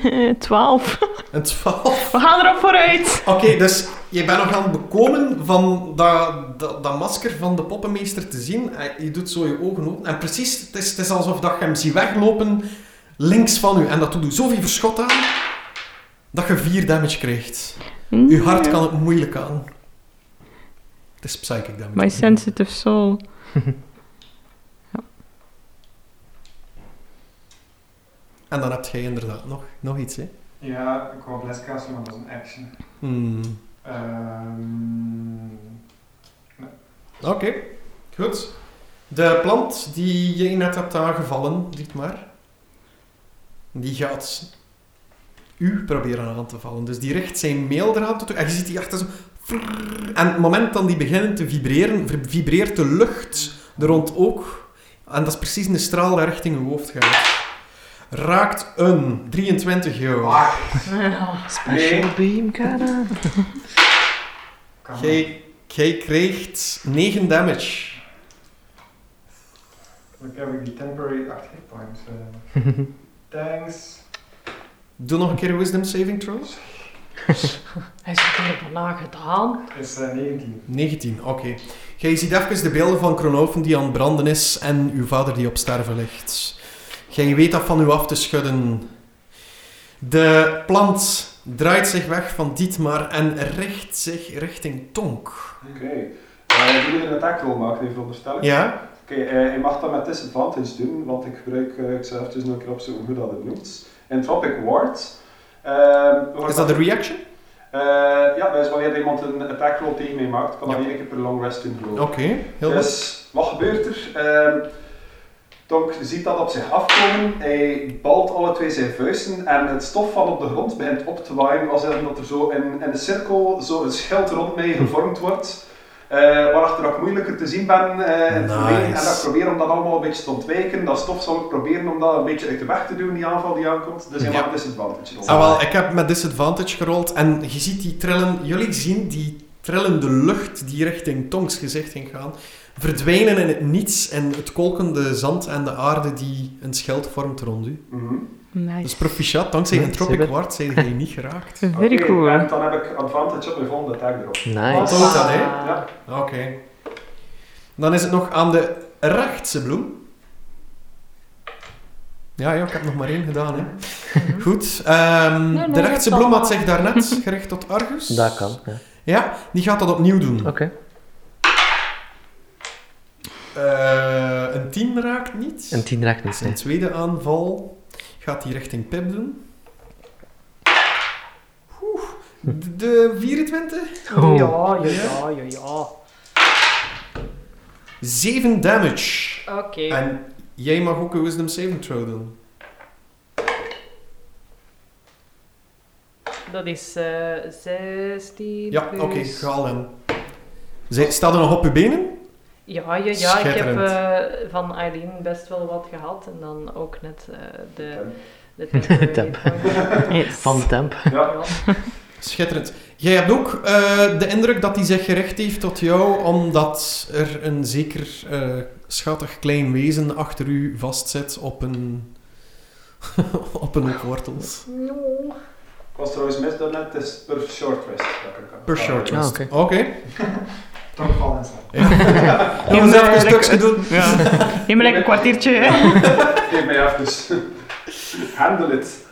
F: Eh, Twaalf.
B: Een 12.
F: We gaan erop vooruit.
B: Oké, dus je bent nog aan het bekomen van dat, dat, dat masker van de poppenmeester te zien. Eh, Je doet zo je ogen open. En precies, het is, het is alsof dat je hem ziet weglopen. links van u. En dat doet u zoveel verschot aan, dat je 4 damage krijgt.
F: Hmm?
B: Uw hart kan het moeilijk aan. Het is psychic damage.
F: My sensitive soul.
B: En dan heb jij inderdaad nog, nog iets, hè?
C: Ja, ik wou Bless casten, maar dat is een action.
B: Hmm.
C: Ehm
B: Oké, goed. De plant die je net hebt aangevallen, dit maar, die gaat u proberen aan te vallen. Dus die richt zijn mail eraan toe. En je ziet die achter zo. En het moment dat die beginnen te vibreren, ver- vibreert de lucht er rond ook. En dat is precies een straal die richting uw hoofd gaat. Raakt een 23 euro.
D: Special beam, Kana.
C: kan
B: Jij jij krijgt 9 damage.
C: Dan heb ik die temporary 8 hit points. eh. thanks.
B: Doe nog een keer een wisdom saving throws.
G: Hij is er helemaal nagedaan.
C: Is eh, 19.
B: 19, oké. Jij ziet even de beelden van Kronoven die aan het branden is en uw vader die op sterven ligt. Jij weet dat van u af te schudden. De plant draait zich weg van Dietmar en richt zich richting Tonk.
E: Oké. Eh, Wil je een attack roll maken, even onderstellen?
B: Ja?
E: Oké, eh, je mag dat met disadvantage doen, want ik gebruik eh, ik zelf dus nog een keer opzoeken hoe dat het noemt. Entropic Ward. Ehm,
B: Is dat de reaction?
E: Eh, ja, dat is wanneer iemand een attack roll tegen mij maakt, kan dat
B: Ja.
E: één keer per long rest doen geloof ik.
B: Oké, heel goed.
E: Dus, wat gebeurt er? Ehm Tonk ziet dat op zich afkomen, hij balt alle twee zijn vuisten en het stof van op de grond begint op te waaien, als in dat er zo in, in een cirkel zo een schild rond mij gevormd wordt, eh, waarachter ik moeilijker te zien ben eh, in het verleden. En
B: Nice.
E: dat ik probeer om dat allemaal een beetje te ontwijken, dat stof zal ik proberen om dat een beetje uit de weg te doen, die aanval die aankomt, dus hij
B: Ja.
E: maakt disadvantage rollen.
B: Ah, wel, ik heb met disadvantage gerold en je ziet die trillen, jullie zien die trillende lucht die richting Tonks gezicht ging gaan, verdwijnen in het niets en het kolkende zand en de aarde die een schild vormt rond u.
E: Mhm.
F: Nice.
B: Dus proficiat, dankzij
D: Ja,
B: een tropic
D: zeker.
B: ward zijn jullie niet geraakt.
F: Very
E: Oké,
F: cool.
E: En dan heb ik advantage op mijn volgende attack erop.
B: Wat
D: Nice.
B: ook dat, hè?
G: Ah.
E: Ja.
B: Oké. Dan is het nog aan de rechtse bloem. Ja, ja, ik heb nog maar één gedaan, hè. Goed. ehm,
G: Mhm. Nee, nee,
B: de
G: dat
B: rechtse
G: kan
B: bloem had
G: wel.
B: zich daarnet gericht tot Argus.
D: Dat kan, ja.
B: Ja, die gaat dat opnieuw doen.
D: Oké.
B: Eh, een 10 raakt niet.
D: Een 10 raakt niet,
B: Zijn
D: nee.
B: tweede aanval gaat hij richting Pip doen. Oeh, de- de 24?
D: Oh.
G: Ja, ja, ja, ja, ja.
B: 7 damage.
G: Oké.
B: En jij mag ook een wisdom saving throw doen.
G: Dat is eh 16
B: Ja, oké,
G: plus...
B: ga hem. Zij staat er nog op je benen?
G: Ja, ja, ja. Ik heb
B: Schitterend.
G: eh, van Eileen best wel wat gehad. En dan ook net eh, de, de
D: Temp.
G: temporary point.
F: Yes.
D: Van temp.
E: Ja,
B: Schitterend. Jij hebt ook eh, de indruk dat hij zich gericht heeft tot jou, omdat er een zeker eh, schattig klein wezen achter u vastzit op een. op een hoop wortels.
G: No.
E: ik was trouwens mis daarnet, het is per short rest. dat ik kan.
B: Per short
D: Ah,
B: rest.
D: oké.
B: Oké.
C: Toch vallen en slaan.
B: Ja. Laten we even een stukje doen.
F: Ja. Geef me lekker een kwartiertje. hè.
E: Geef mij af dus. Handle it.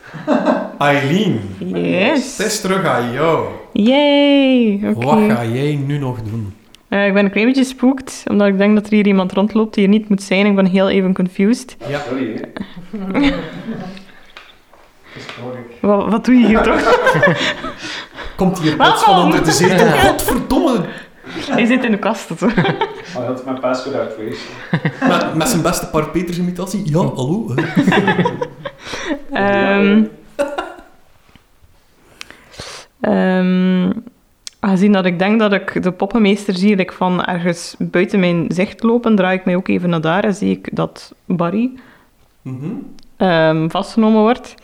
B: Eileen, het
F: Yes.
B: is terug aan jou.
F: Yay. Oké.
B: Wat ga jij nu nog doen?
F: Eh, ik ben een klein beetje spooked, omdat ik denk dat er hier iemand rondloopt die er niet moet zijn. Ik ben heel even confused.
B: Ja.
E: Sorry hè.
C: Is nodig.
F: Wat, wat doe je hier toch?
B: Komt hier plots van onder de zetel? Godverdomme,
F: Je zit in de kast. of zo.
E: Hij Ah, had mijn password uit geweest.
B: Met, met zijn beste Park Peters imitatie. Ja, hallo. hè.
F: Ehm ehm, aangezien dat ik denk dat ik de poppenmeester zie, like van ergens buiten mijn zicht lopen, draai ik mij ook even naar daar en zie ik dat Barry
B: Mhm.
F: ehm, vastgenomen wordt.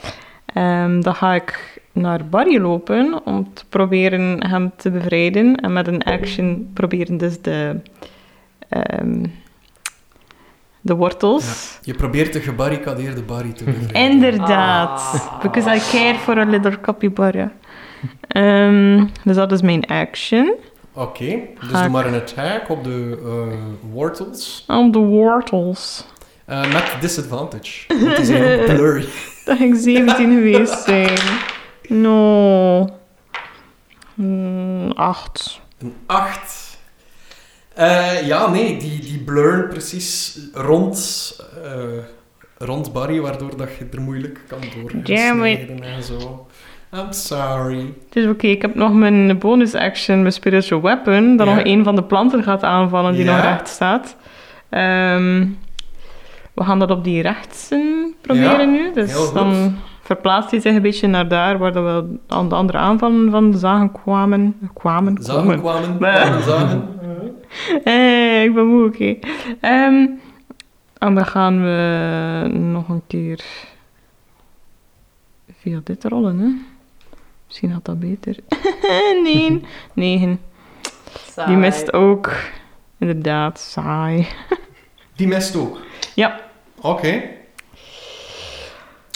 F: Ehm, dan ga ik naar Barry lopen om te proberen hem te bevrijden. En met een action proberen dus de, ehm, de wortels.
B: Je probeert de gebarricadeerde Barry te bevrijden.
F: Inderdaad.
G: Ah.
F: Because I care for a little capybara. Ehm, dus dat is mijn action.
B: Oké, dus
F: Ga
B: doe
F: ik-
B: maar een attack op de eh, wortels.
F: Op de wortels.
B: Eh, met disadvantage. Het is heel blurry.
F: Dat ging 17 geweest zijn. No. Mm, acht.
B: Een 8. Eh, ja, nee, die, die blurren precies rond, eh, rond Barry, waardoor dat je er moeilijk kan
F: Damn it.
B: doorsnijden en zo. I'm sorry.
F: Het is oké, ik heb nog mijn bonus action, mijn spiritual weapon, dat
B: Ja.
F: nog een van de planten gaat aanvallen die
B: Ja.
F: nog recht staat. Ehm, we gaan dat op die rechtsen proberen
B: Ja,
F: nu.
B: heel
F: Dus
B: goed.
F: dan verplaatst hij zich een beetje naar daar waar dat we aan de andere aanvallen van de zagen kwamen. Kwamen?
B: Zagen
F: Komen.
B: kwamen,
F: Nee.
B: kwamen zagen.
F: Eh, ik ben moe, oké. Ehm, en dan gaan we nog een keer via dit rollen, hè. Misschien had dat beter. nee, negen.
G: Saai.
F: Die mist ook. Inderdaad, saai.
B: Die mest ook.
F: Ja.
B: Oké.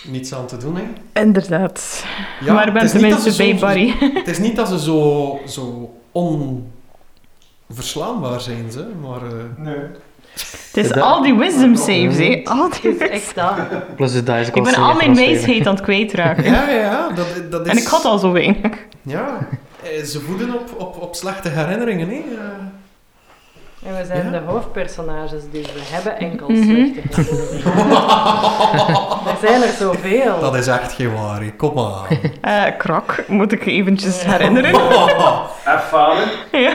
B: Niets aan te doen, hè.
F: Inderdaad.
B: Ja,
F: maar
B: het
F: ik ben
B: is niet dat
F: tenminste
B: ze
F: bij
B: zo-
F: Barry.
B: Het is niet dat ze zo, zo onverslaanbaar zijn, ze, maar... eh,
C: Nee.
F: Het is
D: Dat-
F: al die wisdom saves, hè. Al
G: Het
F: die
G: is
F: wis-
G: echt dat.
D: Plus de dice
F: Ik ben al mijn wijsheid aan het kwijtraken.
B: ja, ja, ja, dat, dat is...
F: En ik had al zo weinig.
B: Ja, eh, ze voeden op, op, op slechte herinneringen, hè. eh.
G: En we zijn
B: Ja?
G: de hoofdpersonages, dus we hebben enkel
F: Mhm.
G: slechte herinneringen. er zijn er zoveel.
B: Dat is echt geen waar, hè. kom aan.
F: Eh, krak, moet ik eventjes herinneren.
E: Ervaren.
F: Ja.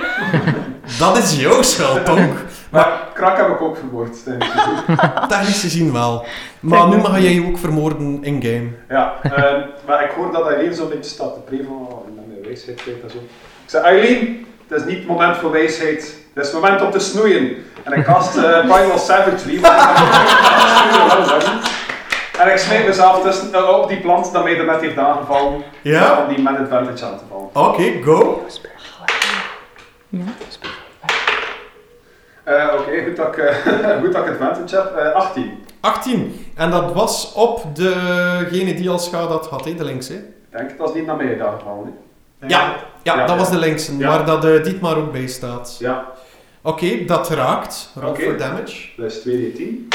B: dat is jouw schuld, Tonk.
E: Maar krak heb ik ook verwoord. tijdens het doen.
B: Technisch gezien wel. Maar nu mag jij je ook vermoorden in-game.
E: Ja, ehm, maar ik hoor dat Aileen zo'n beetje staat te preven van oh, ik ben mijn wijsheid kwijt en zo. Ik zei, Aileen, het is niet het moment voor wijsheid. Het is het moment om te snoeien. En ik cast eh Primal Savagery, want ik heb het snoeien wel hebben. En ik smijt mezelf tussen, eh, op die plant dat mij er net heeft aangevallen.
B: Ja?
E: Om die met advantage aan te vallen.
B: Oké, go.
E: Eh, Oké, goed, dat ik, eh, goed dat ik advantage heb. Eh, 18,
B: 18. En dat was op degene die al schade had gehad, hè, de links, hè.
E: ik denk dat is niet naar mij heeft aangevallen. hè.
C: Denk
B: Ja.
C: ik.
B: Ja,
E: Ja.
B: dat was de linkse,
E: Ja.
B: waar dat eh, dit maar ook bij staat.
E: Ja,
B: Oké, dat raakt. Roll
E: Oké.
B: for damage.
E: dat is 2d10.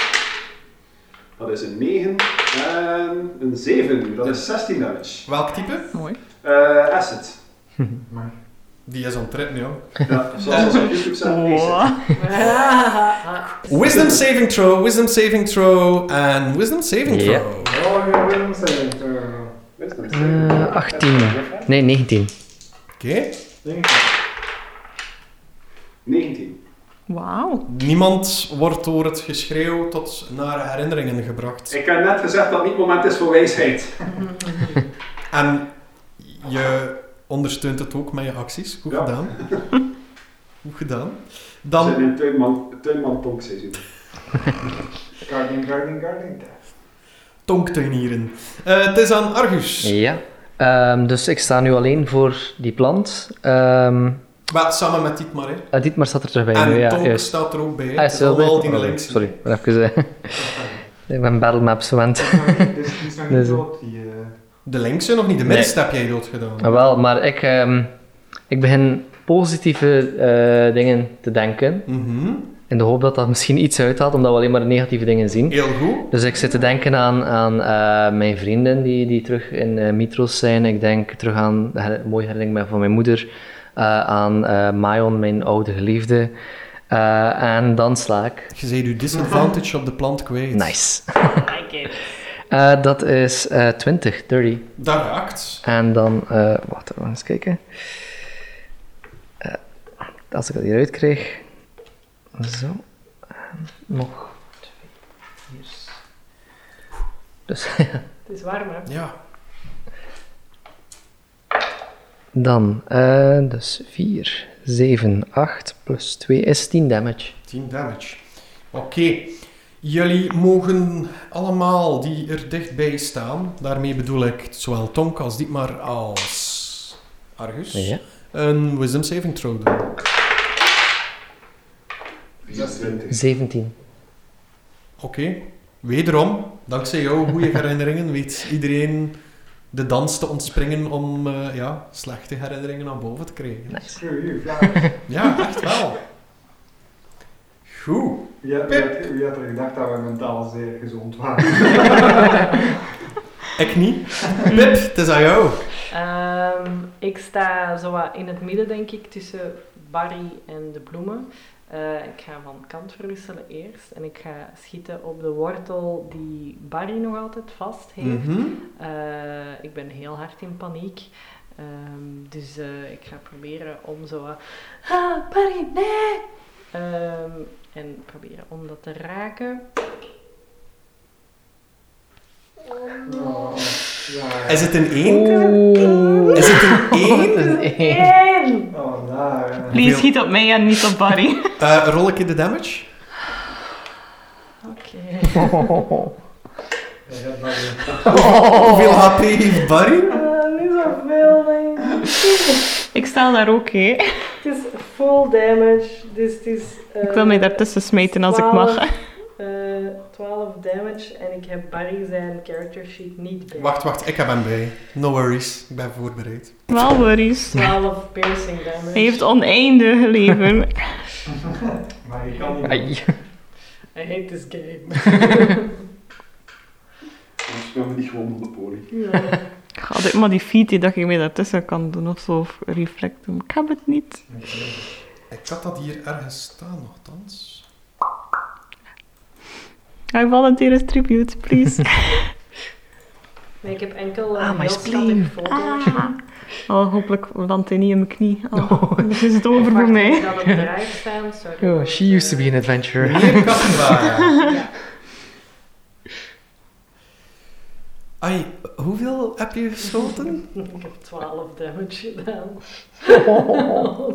E: Dat is een 9 en een 7. Dat is 16 damage.
B: Welk type?
F: Mooi.
E: Eh acid.
B: Die is aan trip, joh.
E: Ja, zoals ons op YouTube staat, acid.
F: Wow.
B: Wisdom saving throw, wisdom saving throw en wisdom saving
D: Ja.
B: throw.
C: Oh, je wil zijn. eh,
E: Wist dat?
D: Eh, 18. Nee, 19.
B: Oké.
C: Denk ik.
E: 19.
F: Wauw.
B: Niemand wordt door het geschreeuw tot nare herinneringen gebracht.
E: Ik heb net gezegd dat het niet het moment is voor wijsheid.
B: En je ondersteunt het ook met je acties. Goed
E: Ja.
B: gedaan. Goed gedaan.
E: We zijn
B: Dan,
E: in tuinman, tuinman Tonk seizoen.
C: Guarding, guarding, guarding.
B: tonktuinieren. Eh het is aan Argus.
D: Ja. Ehm, dus ik sta nu alleen voor die plant. Ehm
B: Maar samen met Dietmar, hè.
D: ah, dit maar staat er terug bij. nu,
B: En
D: ja,
B: Tonk
D: juist.
B: staat er ook bij, hè.
D: Ah,
B: Het
D: is
B: is
D: wel bij-
B: allemaal die
D: oh,
B: links.
D: Sorry, ik ben even... eh, ik ben battlemaps gewend.
C: Dit is- dit is nog niet
D: Dus-
C: dood, die... eh,
B: De linkse nog niet, de
D: Nee.
B: middenste heb jij doodgedaan.
D: Ah, Wel, maar ik, ehm, ik begin positieve eh, dingen te denken.
B: Mhm.
D: In de hoop dat dat misschien iets uithaalt, omdat we alleen maar negatieve dingen zien.
B: Heel goed.
D: Dus ik zit te denken aan, aan eh, mijn vrienden die, die terug in eh Mitros zijn. Ik denk terug aan de her- mooie herinnering van mijn moeder. eh, aan eh Mayon, mijn oude geliefde. Eh, en dan sla ik.
B: Je zei je disadvantage op de plant kwijt.
D: Nice.
G: Kijk eens.
D: Eh, dat is eh 20, 30.
B: Dat raakt.
D: En dan, eh wacht, we gaan eens kijken. Eh, als ik dat hieruit kreeg. Zo. En nog twee. Hier. Dus
G: Het is warm, hè?
B: Ja.
D: dan, eh, dus 4, 7, 8 plus 2 is 10 damage.
B: 10 damage. Oké. Jullie mogen allemaal die er dichtbij staan, daarmee bedoel ik zowel Tonk als Dietmar als Argus,
D: Ja.
B: een wisdom saving throw doen.
E: 26.
D: 17.
B: Oké. Wederom, dankzij jouw goede herinneringen weet iedereen de dans te ontspringen om eh, ja, slechte herinneringen naar boven te krijgen.
D: Nice.
C: Screw you, ja.
B: Ja, echt wel. Goed.
C: Wie had, wie had- wie had er gedacht dat we mentaal zeer gezond waren?
B: Ik niet. Pip, het is aan jou.
G: Ehm, ik sta zowat in het midden, denk ik, tussen Barry en de bloemen. Eh, ik ga van kant verwisselen eerst en ik ga schieten op de wortel die Barry nog altijd vast heeft.
B: Mhm.
G: Eh, ik ben heel hard in paniek. Ehm, dus eh, ik ga proberen om zo... wat, Ah, Barry, nee! Ehm, en proberen om dat te raken.
C: Oh, ja.
B: Is het een 1?
F: Oeh.
B: Is het een 1?
D: Oh, Het is één.
G: Eén!
E: Oh, nou.
F: Please schiet op mij en niet op Barry.
B: Eh rol ik in de damage?
G: Oké.
C: Ja, dat mag niet.
B: Hoeveel HP heeft Barry?
G: Ah, niet zoveel, denk ik.
F: Ik sta daar ook, hè.
G: Het is full damage, dus het is... eh,
F: Ik wil mij daartussen smijten als ik mag.
G: 12, eh, 12 damage en ik heb Barry zijn character sheet niet bij.
B: Wacht, wacht, ik heb hem bij. No worries, ik ben voorbereid.
F: Wel worries.
G: 12 piercing damage.
F: Hij heeft oneindig leven.
E: Maar je kan niet.
D: Ai.
G: I hate this game.
E: Dan spelen we niet gewoon Monopoly.
G: Ja.
F: Ik ga altijd maar die feat die dat ik mee daartussen kan doen of zo, of reflecten. Ik heb het niet.
B: Ik had dat hier ergens staan, nogthans.
F: I volunteer as tribute, please.
G: Nee, ik heb enkel
D: Ah,
G: een
D: my
G: heel
D: spleen. Ah.
G: schattig full damage.
F: Oh, hopelijk landt hij niet in mijn knie. Oh, dan is het over voor
G: Ik
F: mij.
G: had op draai staan, sorry.
D: Oh, she used to be an adventurer.
B: Meer Kassenbaar.
G: Ja.
B: Ai, hoeveel heb je geschoten?
G: Ik heb 12 damage gedaan.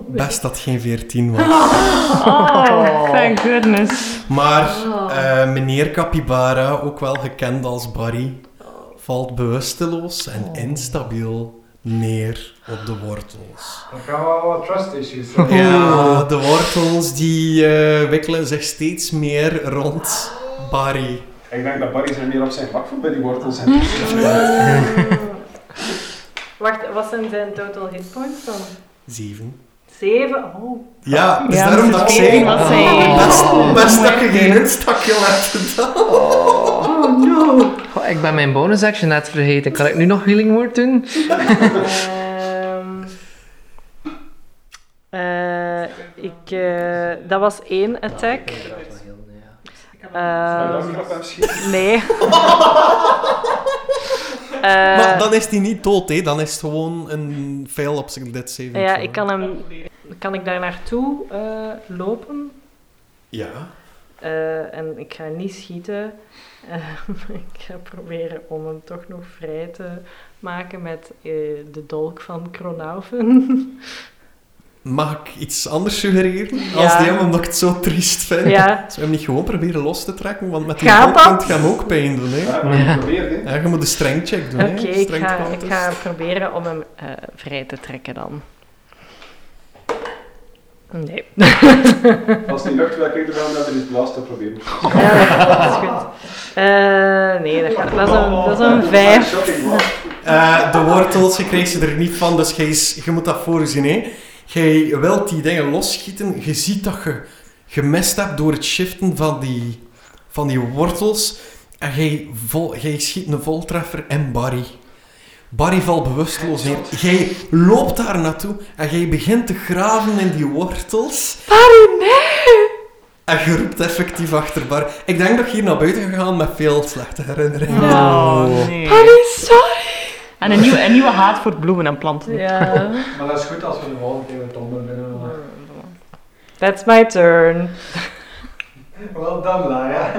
B: Best dat geen 14 was.
F: Oh, thank goodness.
B: Maar
G: Oh.
B: eh, meneer Capybara, ook wel gekend als Barry,
G: Oh.
B: valt bewusteloos en instabiel neer op de wortels.
C: Dan gaan we wel wat trust issues hebben.
B: Ja, de wortels die eh, wikkelen zich steeds meer rond Barry.
E: Ik denk dat Barry zijn meer op zijn bak voor bij die wortels. En ja.
G: Ehm, Wacht, wat zijn zijn total hitpoints dan?
B: Zeven.
G: 7? Oh.
B: Ja, dus
F: Ja,
B: daarom
F: dat
B: dat ik
F: is
B: zei,
F: één wat zij-
B: best, best dat je geen instakje hebt gedaan.
G: Oh no!
D: Oh, ik ben mijn bonus action net vergeten. Kan ik nu nog healing word doen?
G: Ehm, eh, ik, eh, dat was één attack.
E: Dan
G: Ehm,
E: grap hem schieten.
G: nee. Eh,
B: Maar dan is hij niet dood, hè. dan is het gewoon een fail op zijn dead saving.
G: ja,
B: throw.
G: ik kan hem... Kan ik daar naartoe eh, lopen?
B: Ja.
G: Eh, en ik ga niet schieten. Eh, ik ga proberen om hem toch nog vrij te maken met eh, de dolk van Kronaufen.
B: Mag ik iets anders suggereren?
G: Ja.
B: Als DM, omdat ik het zo triest vind.
G: ja.
B: Zou je hem niet gewoon proberen los te trekken? Want met die
G: Gaat
B: hand kan
G: dat?
B: het hem ook pijn doen. Hè.
E: Ja, maar je probeert, hè.
B: Ja, je moet een strengcheck doen.
G: Oké,
B: hè.
G: ik, ga,
B: Strength
G: ik ga proberen om hem eh, vrij te trekken dan. Nee.
E: Als het niet lukt, wil ik er wel naar de blaas te proberen.
G: Ja, dat is goed. Eh, nee, dat, gaat, dat, is een, dat is een vijf.
E: Shocking, man.
B: Eh, de wortels, je krijgt ze er niet van, dus jij is- je moet dat voorzien. Hè. Jij wilt die dingen losschieten. Je ziet dat je gemist hebt door het shiften van die, van die wortels. En jij, vol, jij schiet een voltreffer in Barry. Barry valt bewusteloos neer. Jij loopt daar naartoe en jij begint te graven in die wortels.
G: Barry, nee!
B: En je roept effectief achter Barry. Ik denk dat je hier naar buiten gegaan met veel slechte herinneringen.
F: Oh, nee.
G: Barry, sorry!
F: En een nieuwe, een nieuwe haat voor bloemen en planten.
G: Ja.
C: Maar dat is goed als we de volgende keer weer tonden binnen.
G: That's my turn.
C: Wel dan, Lara.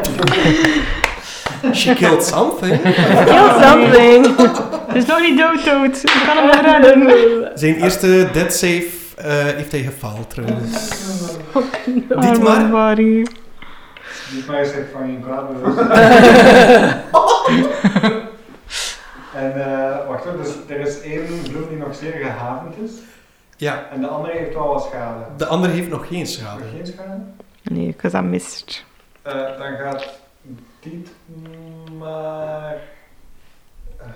B: She killed something.
G: Kill
F: Oh,
G: something!
F: Het is nog niet dood, dood. Dus Ik kan hem nog redden.
B: Zijn eerste dead save eh, heeft hij gefaald trouwens.
F: Oh,
B: Dit
F: Arme
B: maar.
F: Barry.
C: Die mij zegt van je kwaad bewust. En eh, wacht hoor, dus er is één bloem die nog zeer gehavend is.
B: Ja,
C: En de andere heeft wel wat schade.
B: de andere heeft nog geen
C: Nog
B: schade.
C: geen schade?
F: Nee, ik was aan mist.
C: Eh, dan gaat dit maar. eh,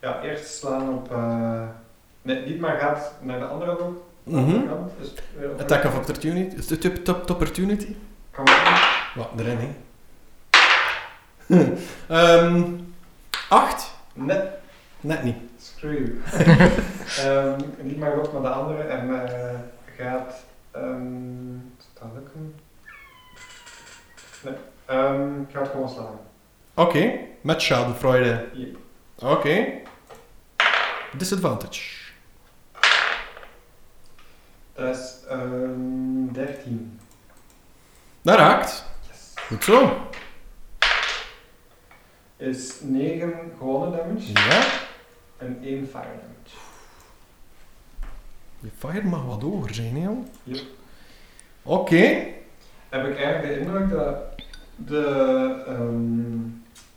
C: Ja, eerst slaan op. eh, Nee, dit maar gaat naar de andere hoek.
B: Mhm.
C: kant, Dus weer op-
B: Attack of opportunity. Is dit Top, top opportunity?
C: Kan wel.
B: Wat, erin hè. Ehm, Acht?
C: Net
B: Net niet.
C: screw you. Ehm, niet maar op, maar de andere. En eh, gaat. ehm zou dat lukken? Nee. Ehm, ik ga het gewoon slaan.
B: Oké, met schadenfreude.
C: Yep.
B: Oké. Disadvantage.
C: Dat is ehm 13.
B: Dat raakt.
C: Yes.
B: Goed zo.
C: Is 9 gewone damage
B: Ja.
C: en 1 fire damage.
B: Je fire mag wat hoger zijn, hè, joh.
C: Yep.
B: Oké.
C: Heb ik eigenlijk de indruk dat de. ehm,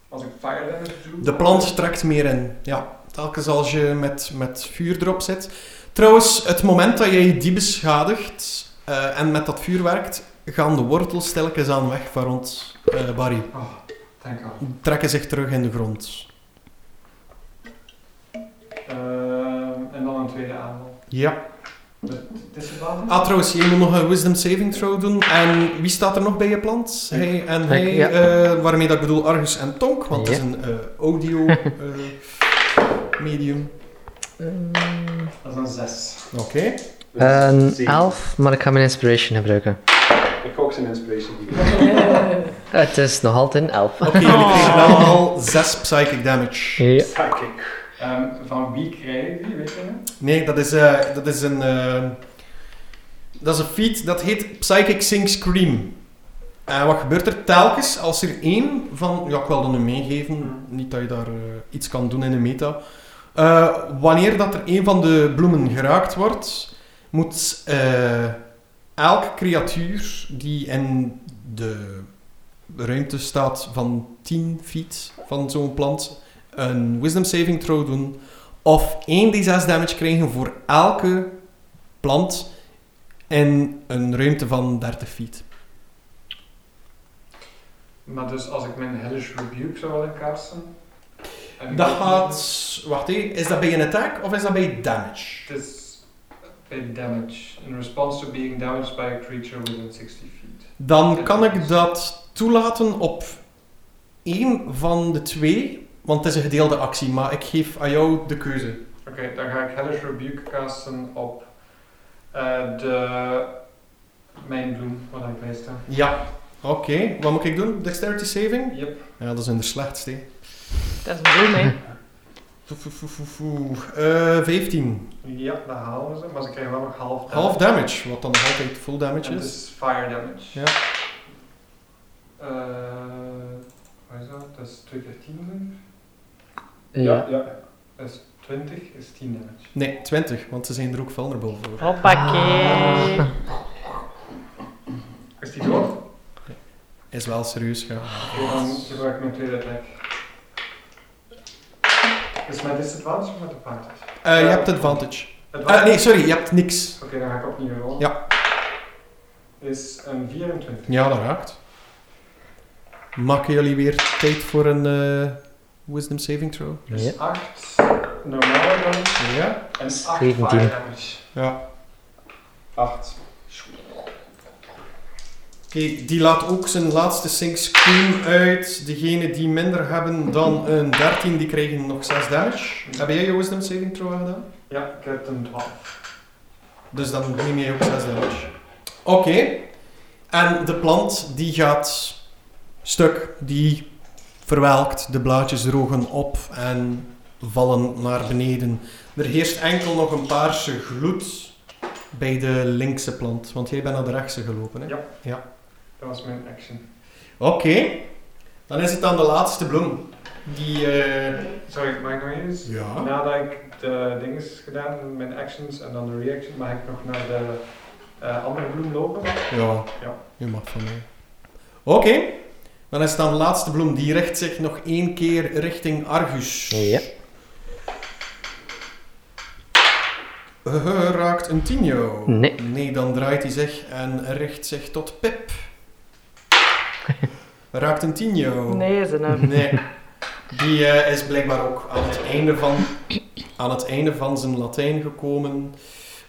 C: als ik fire damage doe.
B: De plant trekt meer in. Ja, telkens als je met, met vuur erop zit. Trouwens, het moment dat jij die beschadigt eh, en met dat vuur werkt, gaan de wortels telkens aan weg van rond eh, Barry.
C: Oh, thank god.
B: Trekken zich terug in de grond.
C: Ehm, en dan een tweede aanval.
B: Ja.
C: Met disadvantage?
B: Ah, trouwens, jij moet nog een wisdom saving throw doen. En wie staat er nog bij je plant? Hij en
D: Ik,
B: hij,
D: ja.
B: eh, waarmee dat ik bedoel Argus en Tonk, want het
D: Ja.
B: is een eh, audio eh, medium.
C: Dat is een 6.
B: Oké.
D: Een
E: Zeven.
D: elf, maar ik ga mijn inspiration gebruiken.
E: Ik ook zijn inspiration.
D: Het is nog altijd een elf.
B: Oké, we kregen wel al 6 psychic damage.
D: Ja.
E: Psychic.
C: Ehm, van wie krijg je die, weet je nog?
B: Nee, dat is, eh, dat is een. eh, dat is een feat dat heet Psychic Sing Scream. En wat gebeurt er telkens als er één van. Ja, ik wil dat nu meegeven. Niet dat je daar eh, iets kan doen in de meta. Eh, wanneer dat er één van de bloemen geraakt wordt, moet eh, elk creatuur die in de ruimte staat van 10 feet van zo'n plant een wisdom saving throw doen of 1d6 damage krijgen voor elke plant in een ruimte van 30 feet.
C: Maar dus als ik mijn Hellish Rebuke zou willen casten... en ik
B: Dat
C: weet niet-
B: gaat... Wacht even, is dat bij een attack of is dat bij damage?
C: Het is bij damage. In response to being damaged by a creature within 60 feet.
B: Dan kan ik dat toelaten op één van de twee, want het is een gedeelde actie, maar ik geef aan jou de keuze.
C: Oké, dan ga ik Hellish Rebuke casten op eh, de... Mijn bloem, wat ik bij sta.
B: Ja. Oké, wat moet ik doen? Dexterity saving?
C: Yep.
B: Ja, dat is in de slechtste. hè.
F: Dat is een bloem, hè.
B: Foe, foe, foe, foe, foe. Eh, 15.
C: Ja, dat halen ze. Maar ze krijgen wel nog half damage.
B: Half damage, wat dan nog altijd full damage
C: En
B: is.
C: het is fire damage.
B: Ja.
C: Eh, wat is dat? Dat is 2 keer 10 doen.
D: Ja.
E: ja.
C: Dat is 20, is 10 damage.
B: Nee, 20, want ze zijn er ook vulnerable voor.
F: Hoppakee.
C: Is die dood? Oké,
B: Is wel serieus gaan.
C: dan gebruik ik mijn tweede attack. Is mijn disadvantage of met advantage?
B: je hebt advantage. Eh,
C: Advantage?
B: nee, sorry, je hebt niks.
C: Oké, dan ga ik opnieuw rollen.
B: Ja.
C: Is een 24.
B: Ja, dat raakt. Maken jullie weer tijd voor een eh, wisdom saving throw?
C: Dus
D: Ja.
C: 8 normale damage
B: Ja.
C: en 8
D: 17.
C: fire damage.
B: ja.
E: 8.
B: Oké, die laat ook zijn laatste sync scream uit. Degene die minder hebben dan een 13, die krijgen nog 6 damage. Heb jij je wisdom saving throw gedaan?
C: Ja, ik heb een 12.
B: Dus dan neem je ook 6 damage. Oké. En de plant die gaat stuk. Die verwelkt. De blaadjes drogen op en vallen naar beneden. Er heerst enkel nog een paarse gloed bij de linkse plant. Want jij bent naar de rechtse gelopen. Hè?
C: Ja.
B: ja.
C: Dat was mijn action.
B: Oké. Dan is het dan de laatste bloem. Die... eh,
C: Sorry, mag ik nog eens?
B: ja.
C: Nadat ik de dingen gedaan, mijn actions en dan de reaction, mag ik nog naar de eh, andere bloem lopen.
B: Oh. Ja,
C: Ja.
B: je mag van mij. Oké, dan is dan de laatste bloem. Die richt zich nog één keer richting Argus.
D: Ja.
B: Eh, raakt een Tino.
D: Nee.
B: Nee, dan draait hij zich en richt zich tot Pip. Raakt een Tino.
F: Nee, ze
G: ehm,
F: nou.
B: Nee. Die eh, is blijkbaar ook aan het einde van, aan het einde van zijn Latijn gekomen.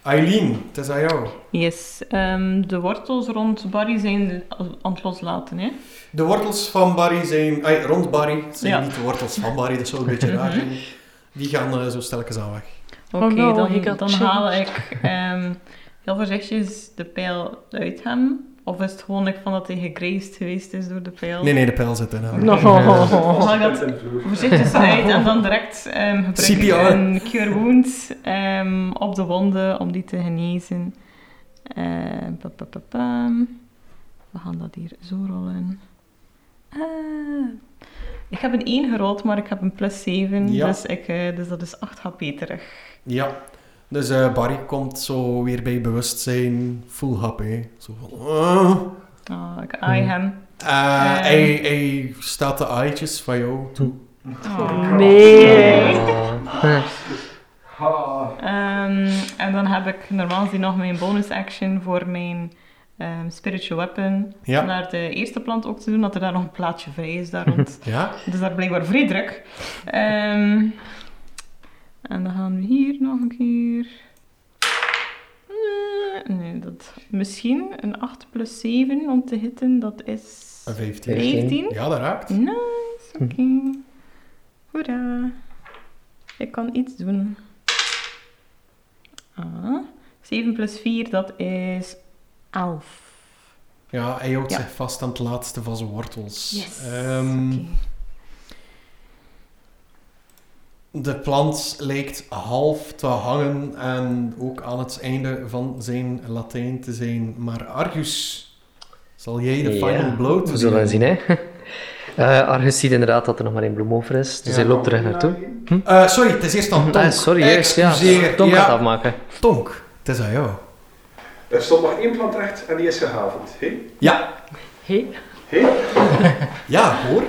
B: Eileen, het is aan jou.
F: Yes. ehm, de wortels rond Barry zijn aan het loslaten, hè?
B: De wortels van Barry zijn... Ay, rond Barry zijn
F: Ja. Mhm.
B: niet de wortels van Barry, dat zou een beetje raar zijn. Die gaan eh, zo stelkens aan weg.
F: Oké,
G: Oh no, he
F: dan,
G: got
F: dan
G: changed.
F: haal ik ehm, heel voorzichtig de pijl uit hem. Of is het gewoon ik van dat hij gegrazed geweest is door de pijl?
B: Nee, nee, de pijl zit in hem.
F: No.
B: Oh
F: Mag ik dat
E: Vast in de vloer.
F: voorzichtig uit en dan direct ehm gebruik ik
B: CPR.
F: een cure wound ehm, op de wonden om die te genezen. Eh, pa, pa, pa, pam. We gaan dat hier zo rollen. Ah. Ik heb een 1 gerold, maar ik heb een plus 7,
B: Ja.
F: dus, ik, eh, dus dat is 8 HP terug.
B: Ja. Dus eh, Barry komt zo weer bij bewustzijn, full hap, hè. Zo van... "Ah."
F: Oh, ik eye hem.
B: Eh, hij, hij staat de eitjes van jou toe.
F: Oh.
G: Nee.
D: Ah.
E: Ha.
F: Ehm, en dan heb ik normaal gezien nog mijn bonus action voor mijn ehm, spiritual weapon.
B: Ja.
F: Om naar de eerste plant ook te doen, dat er daar nog een plaatje vrij is daar rond.
B: Ja?
F: dus daar blijkbaar vrij druk. Ehm, en dan gaan we hier nog een keer... Eh, Nee, dat... Misschien een 8 plus 7 om te hitten, dat is...
B: Een 15.
F: 15.
B: Ja, Hm. dat raakt.
F: Nice, oké. Hoera. Ik kan iets doen. Ah, 7 plus 4, dat is 11.
B: Ja, hij houdt
F: Ja.
B: zich vast aan het laatste van zijn wortels.
F: Yes.
B: Ehm,
F: Oké.
B: De plant lijkt half te hangen en ook aan het einde van zijn Latijn te zijn. Maar Argus, zal jij de
D: Ja.
B: final blow te
D: We zullen zien, hè. Eh, Argus ziet inderdaad dat er nog maar één bloem over is, dus
B: Ja.
D: hij loopt terug naartoe.
B: Eh, sorry, het is eerst aan Tonk.
D: Ah, sorry, eerst, ja.
B: Excuseer.
D: Tom
B: Ja,
D: gaat afmaken.
B: Tonk, het is aan jou.
E: Er stond nog één plant recht en die is gehavend. Hé?
B: Ja,
G: Hey.
E: Hé?
B: ja, hoor.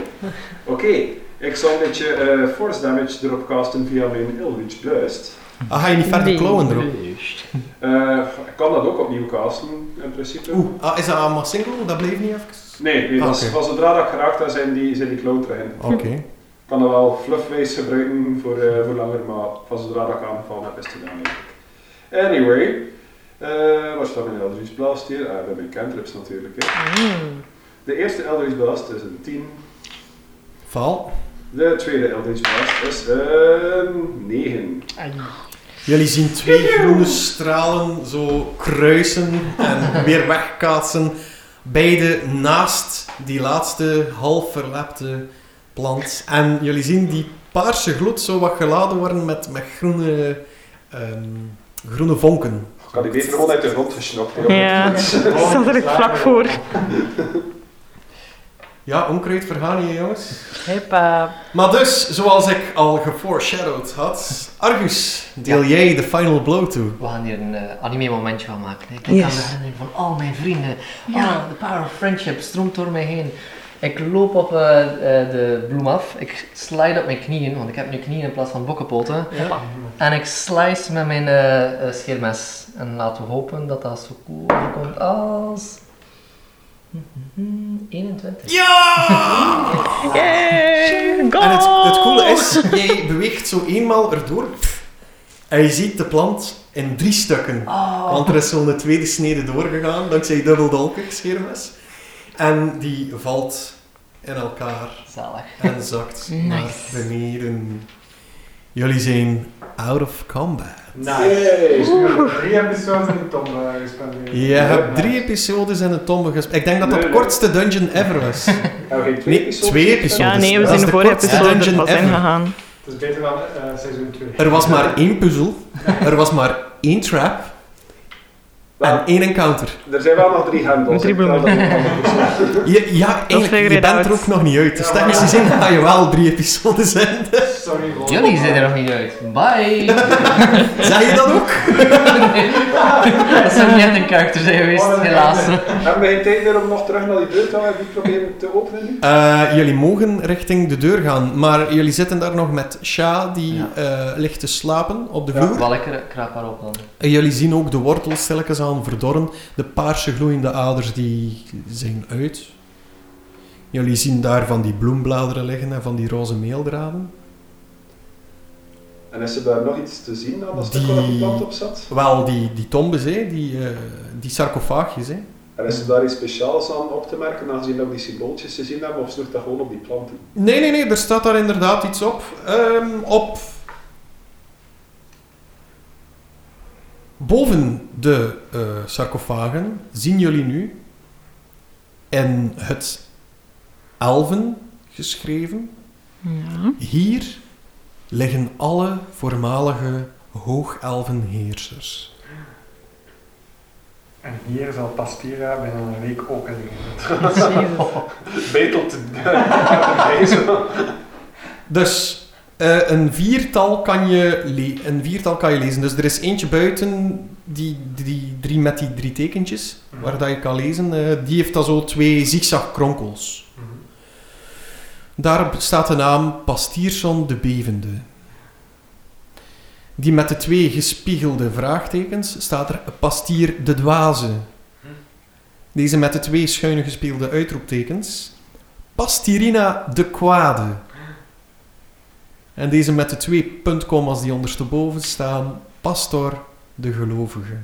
E: Oké, ik zal een beetje eh, force damage erop casten via mijn Ilwitch Blast.
B: Dan Ah, ga je niet verder klauwen erop.
E: Eh, ik kan dat ook opnieuw casten, in principe.
B: Oeh, ah, is dat allemaal single? Dat bleef niet even.
E: Nee, nee dat is-
B: Ah, oké.
E: van zodra dat ik geraakt ben, zijn die, zijn die klauwen erin. Ik
B: Oké.
E: kan dat wel fluffways gebruiken voor, eh, voor langer, maar van zodra dat ik aangevallen heb, is het gedaan. eigenlijk. Anyway, eh waar staat mijn Eldritch Blast hier? Ah, bij mijn cantrips natuurlijk. Hè.
B: Mm.
E: De eerste Eldritch Blast is een 10.
B: Val.
E: De tweede Eldritch Blast is een 9.
B: Jullie zien twee groene stralen zo kruisen en weer wegkaatsen. Beide naast die laatste half verlepte plant. En jullie zien die paarse gloed zo wat geladen worden met, met groene, ehm, groene vonken.
E: Ik had die beter gewoon uit de grond gesnopt. hè, op
F: Ja,
E: het-
F: zat er vlak voor.
B: Ja, onkruid vergaan hier, jongens.
G: Hippa.
B: Maar dus, zoals ik al geforeshadowed had, Argus, deel jij de final blow toe.
D: We gaan hier een eh, anime momentje van maken. hè. Ik denk
F: Yes.
D: aan de herinnering van al mijn vrienden.
F: Ja.
D: Ah, de power of friendship stroomt door mij heen. Ik loop op eh, eh, de bloem af. Ik slide op mijn knieën, want ik heb nu knieën in plaats van bokkenpoten.
B: Ja.
D: En ik slice met mijn eh, eh, scheermes. En laten we hopen dat dat zo cool komt als... Mhm, 21.
B: Ja!
F: Yay! Go!
B: En het, het coole is, jij beweegt zo eenmaal erdoor en je ziet de plant in drie stukken.
F: Oh.
B: Want er is zo'n tweede snede doorgegaan, dankzij dubbeldolkig scheermes. En die valt in elkaar
D: Zalig.
B: en zakt naar beneden. Jullie zijn out of combat.
E: Yay.
C: Drie episodes in de tom eh, gespendeerd.
B: Je hebt drie episodes in de tombe gespeeld. Ik denk dat dat de
E: Nee, nee.
B: kortste dungeon ever was.
E: Hebben we geen
B: Nee,
E: episodes?
B: twee episodes.
F: Ja, nee, we
B: Dat
F: zijn
B: is
F: de vorige
B: kortste
F: episode er
B: dungeon
F: pas in
B: ever.
F: gegaan.
C: Het is beter dan eh, seizoen 2.
B: Er was maar één puzzel, er was maar één trap en
E: Wel,
B: één encounter.
E: er zijn wel nog drie hendels.
F: Drie
E: ik tel
F: bloemen.
E: dat niet.
B: Je, ja,
F: figure
B: eigenlijk, je
F: it
B: bent
F: out.
B: er ook nog niet uit. Dus
C: Ja,
B: technisch
C: maar-
B: gezien ga je wel drie episodes in.
C: Sorry, voor.
D: Jullie zijn er nog niet uit. Bye!
B: Zeg je dat ook?
D: dat zou niet echt een karakter zijn geweest, helaas.
E: Hebben we geen tijd meer om nog terug naar die deur te gaan en die proberen te openen? nu?
B: Eh, jullie mogen richting de deur gaan, maar jullie zitten daar nog met Sha, die
D: Ja.
B: eh, ligt te slapen op de vloer.
D: Wel lekker krap haar op dan.
B: En jullie zien ook de wortels stilletjes aan verdorren. De paarse gloeiende aders die zijn uit. Jullie zien daar van die bloembladeren liggen en van die roze meeldraden.
E: En is er daar nog iets te zien aan dat stuk
B: Die-
E: waar die plant op zat?
B: Wel, die, die tombes, hè, die, eh, die sarcofaagjes. Hè.
E: En is er daar iets speciaals aan op te merken, aangezien dat we die symbooltjes te zien hebben, of snoert dat gewoon op die planten?
B: Nee, nee, nee, er staat daar inderdaad iets op. Ehm, op. Boven de eh, sarcofagen zien jullie nu in het elven geschreven.
F: Ja.
B: Hier liggen alle voormalige hoogelvenheersers.
J: En hier zal Pastira binnen een week ook in liggen.
E: Beet op de deze.
B: Dus eh, een, viertal kan je le- een viertal kan je lezen. Dus er is eentje buiten, die, die, die drie met die drie tekentjes,
C: Mhm.
B: waar dat je kan lezen. eh, die heeft dan zo twee zigzagkronkels.
J: Mhm.
B: Daarop staat de naam Pastierson de Bevende. Die met de twee gespiegelde vraagtekens staat er Pastier de Dwaze. Deze met de twee schuine gespiegelde uitroeptekens. Pastirina de Kwade. En deze met de twee puntkommas die ondersteboven staan. Pastor de gelovige.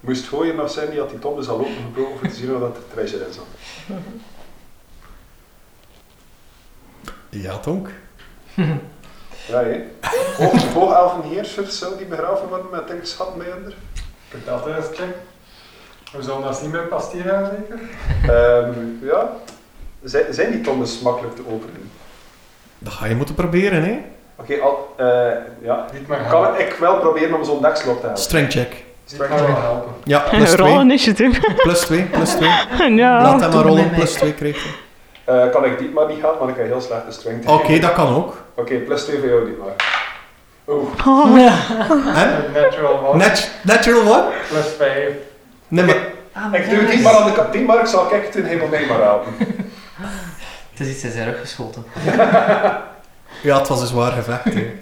E: Moest gooien, maar Sandy had die tom dus al opengebroken om te zien wat dat er treasure in zat.
B: Ja, Tonk.
E: Ja, hè? Hoog, hoogelfenheersers zou die begraven worden met dikke schatten bij onder?
J: Kunt dat eens checken? We zullen dat zien met Pastira zeker?
E: Ehm, ja. Zijn, zijn die tombes makkelijk te openen?
B: Dat ga je moeten proberen, hè?
E: Oké, al- eh, ja.
J: Niet maar
E: Kan ik wel proberen om zo'n dekslot te halen?
B: Strength check.
J: Niet maar gaan helpen.
B: Ja, plus
F: Rol
B: 2.
F: initiative.
B: Plus 2, plus 2.
F: ja.
B: Laat hem maar
D: nee,
B: rollen,
D: nee.
B: plus 2 krijgt hij.
E: Eh, kan ik die maar niet halen, want ik heb heel slechte strength.
B: Oké, dat kan ook.
E: Oké, plus 2 voor jou die maar. Oeh.
B: En?
J: Natural one,
B: Nat natural one?
J: plus 5.
B: Nee, maar...
D: Ah,
E: Ik doe het niet maar aan de kapitein, maar ik zal kijken toen helemaal mee maar helpen.
D: Het is iets in zijn rug geschoten.
B: Ja, het was een zwaar gevecht, hè.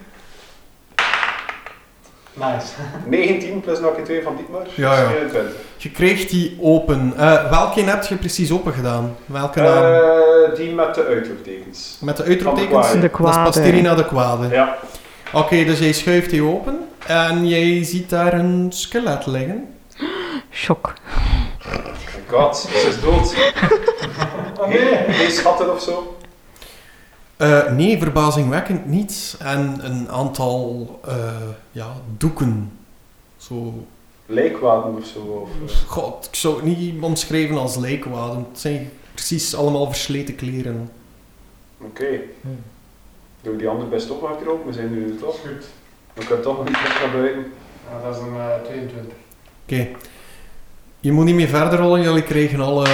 J: Nice.
E: 19 plus nog een 2 van Dietmar.
B: Ja, ja.
E: 24.
B: Je kreeg die open. Eh, welke heb je precies open gedaan? Welke naam?
E: Eh, die met de uitroeptekens.
B: Met de uitroeptekens?
E: Van
B: Dat
F: de
B: is
F: kwade.
B: Pastirina de Kwade.
E: Ja.
B: Oké, dus jij schuift die open en jij ziet daar een skelet liggen.
F: Shock.
E: Oh god, ze is dood. Geen, geen schatten of zo.
B: Eh, nee, verbazingwekkend niet. En een aantal eh, ja, doeken. Zo,
E: Lijkwaden of zo. Of, eh,
B: god, ik zou het niet omschrijven als lijkwaden. Het zijn precies allemaal versleten kleren.
E: Oké. Doe die andere best op, maar erop. We zijn nu toch. Goed. We kunnen toch nog niet terug naar buiten.
J: Ja, dat is een eh, 22.
B: Oké. Je moet niet meer verder rollen. Jullie kregen alle,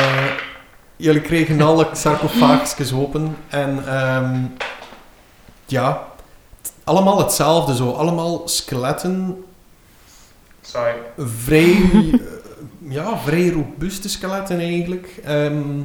B: jullie kregen alle sarcofaagjes open. En ehm, ja, t- allemaal hetzelfde zo. Allemaal skeletten.
J: Sorry.
B: Vrij, eh, ja, vrij robuuste skeletten eigenlijk. Ehm,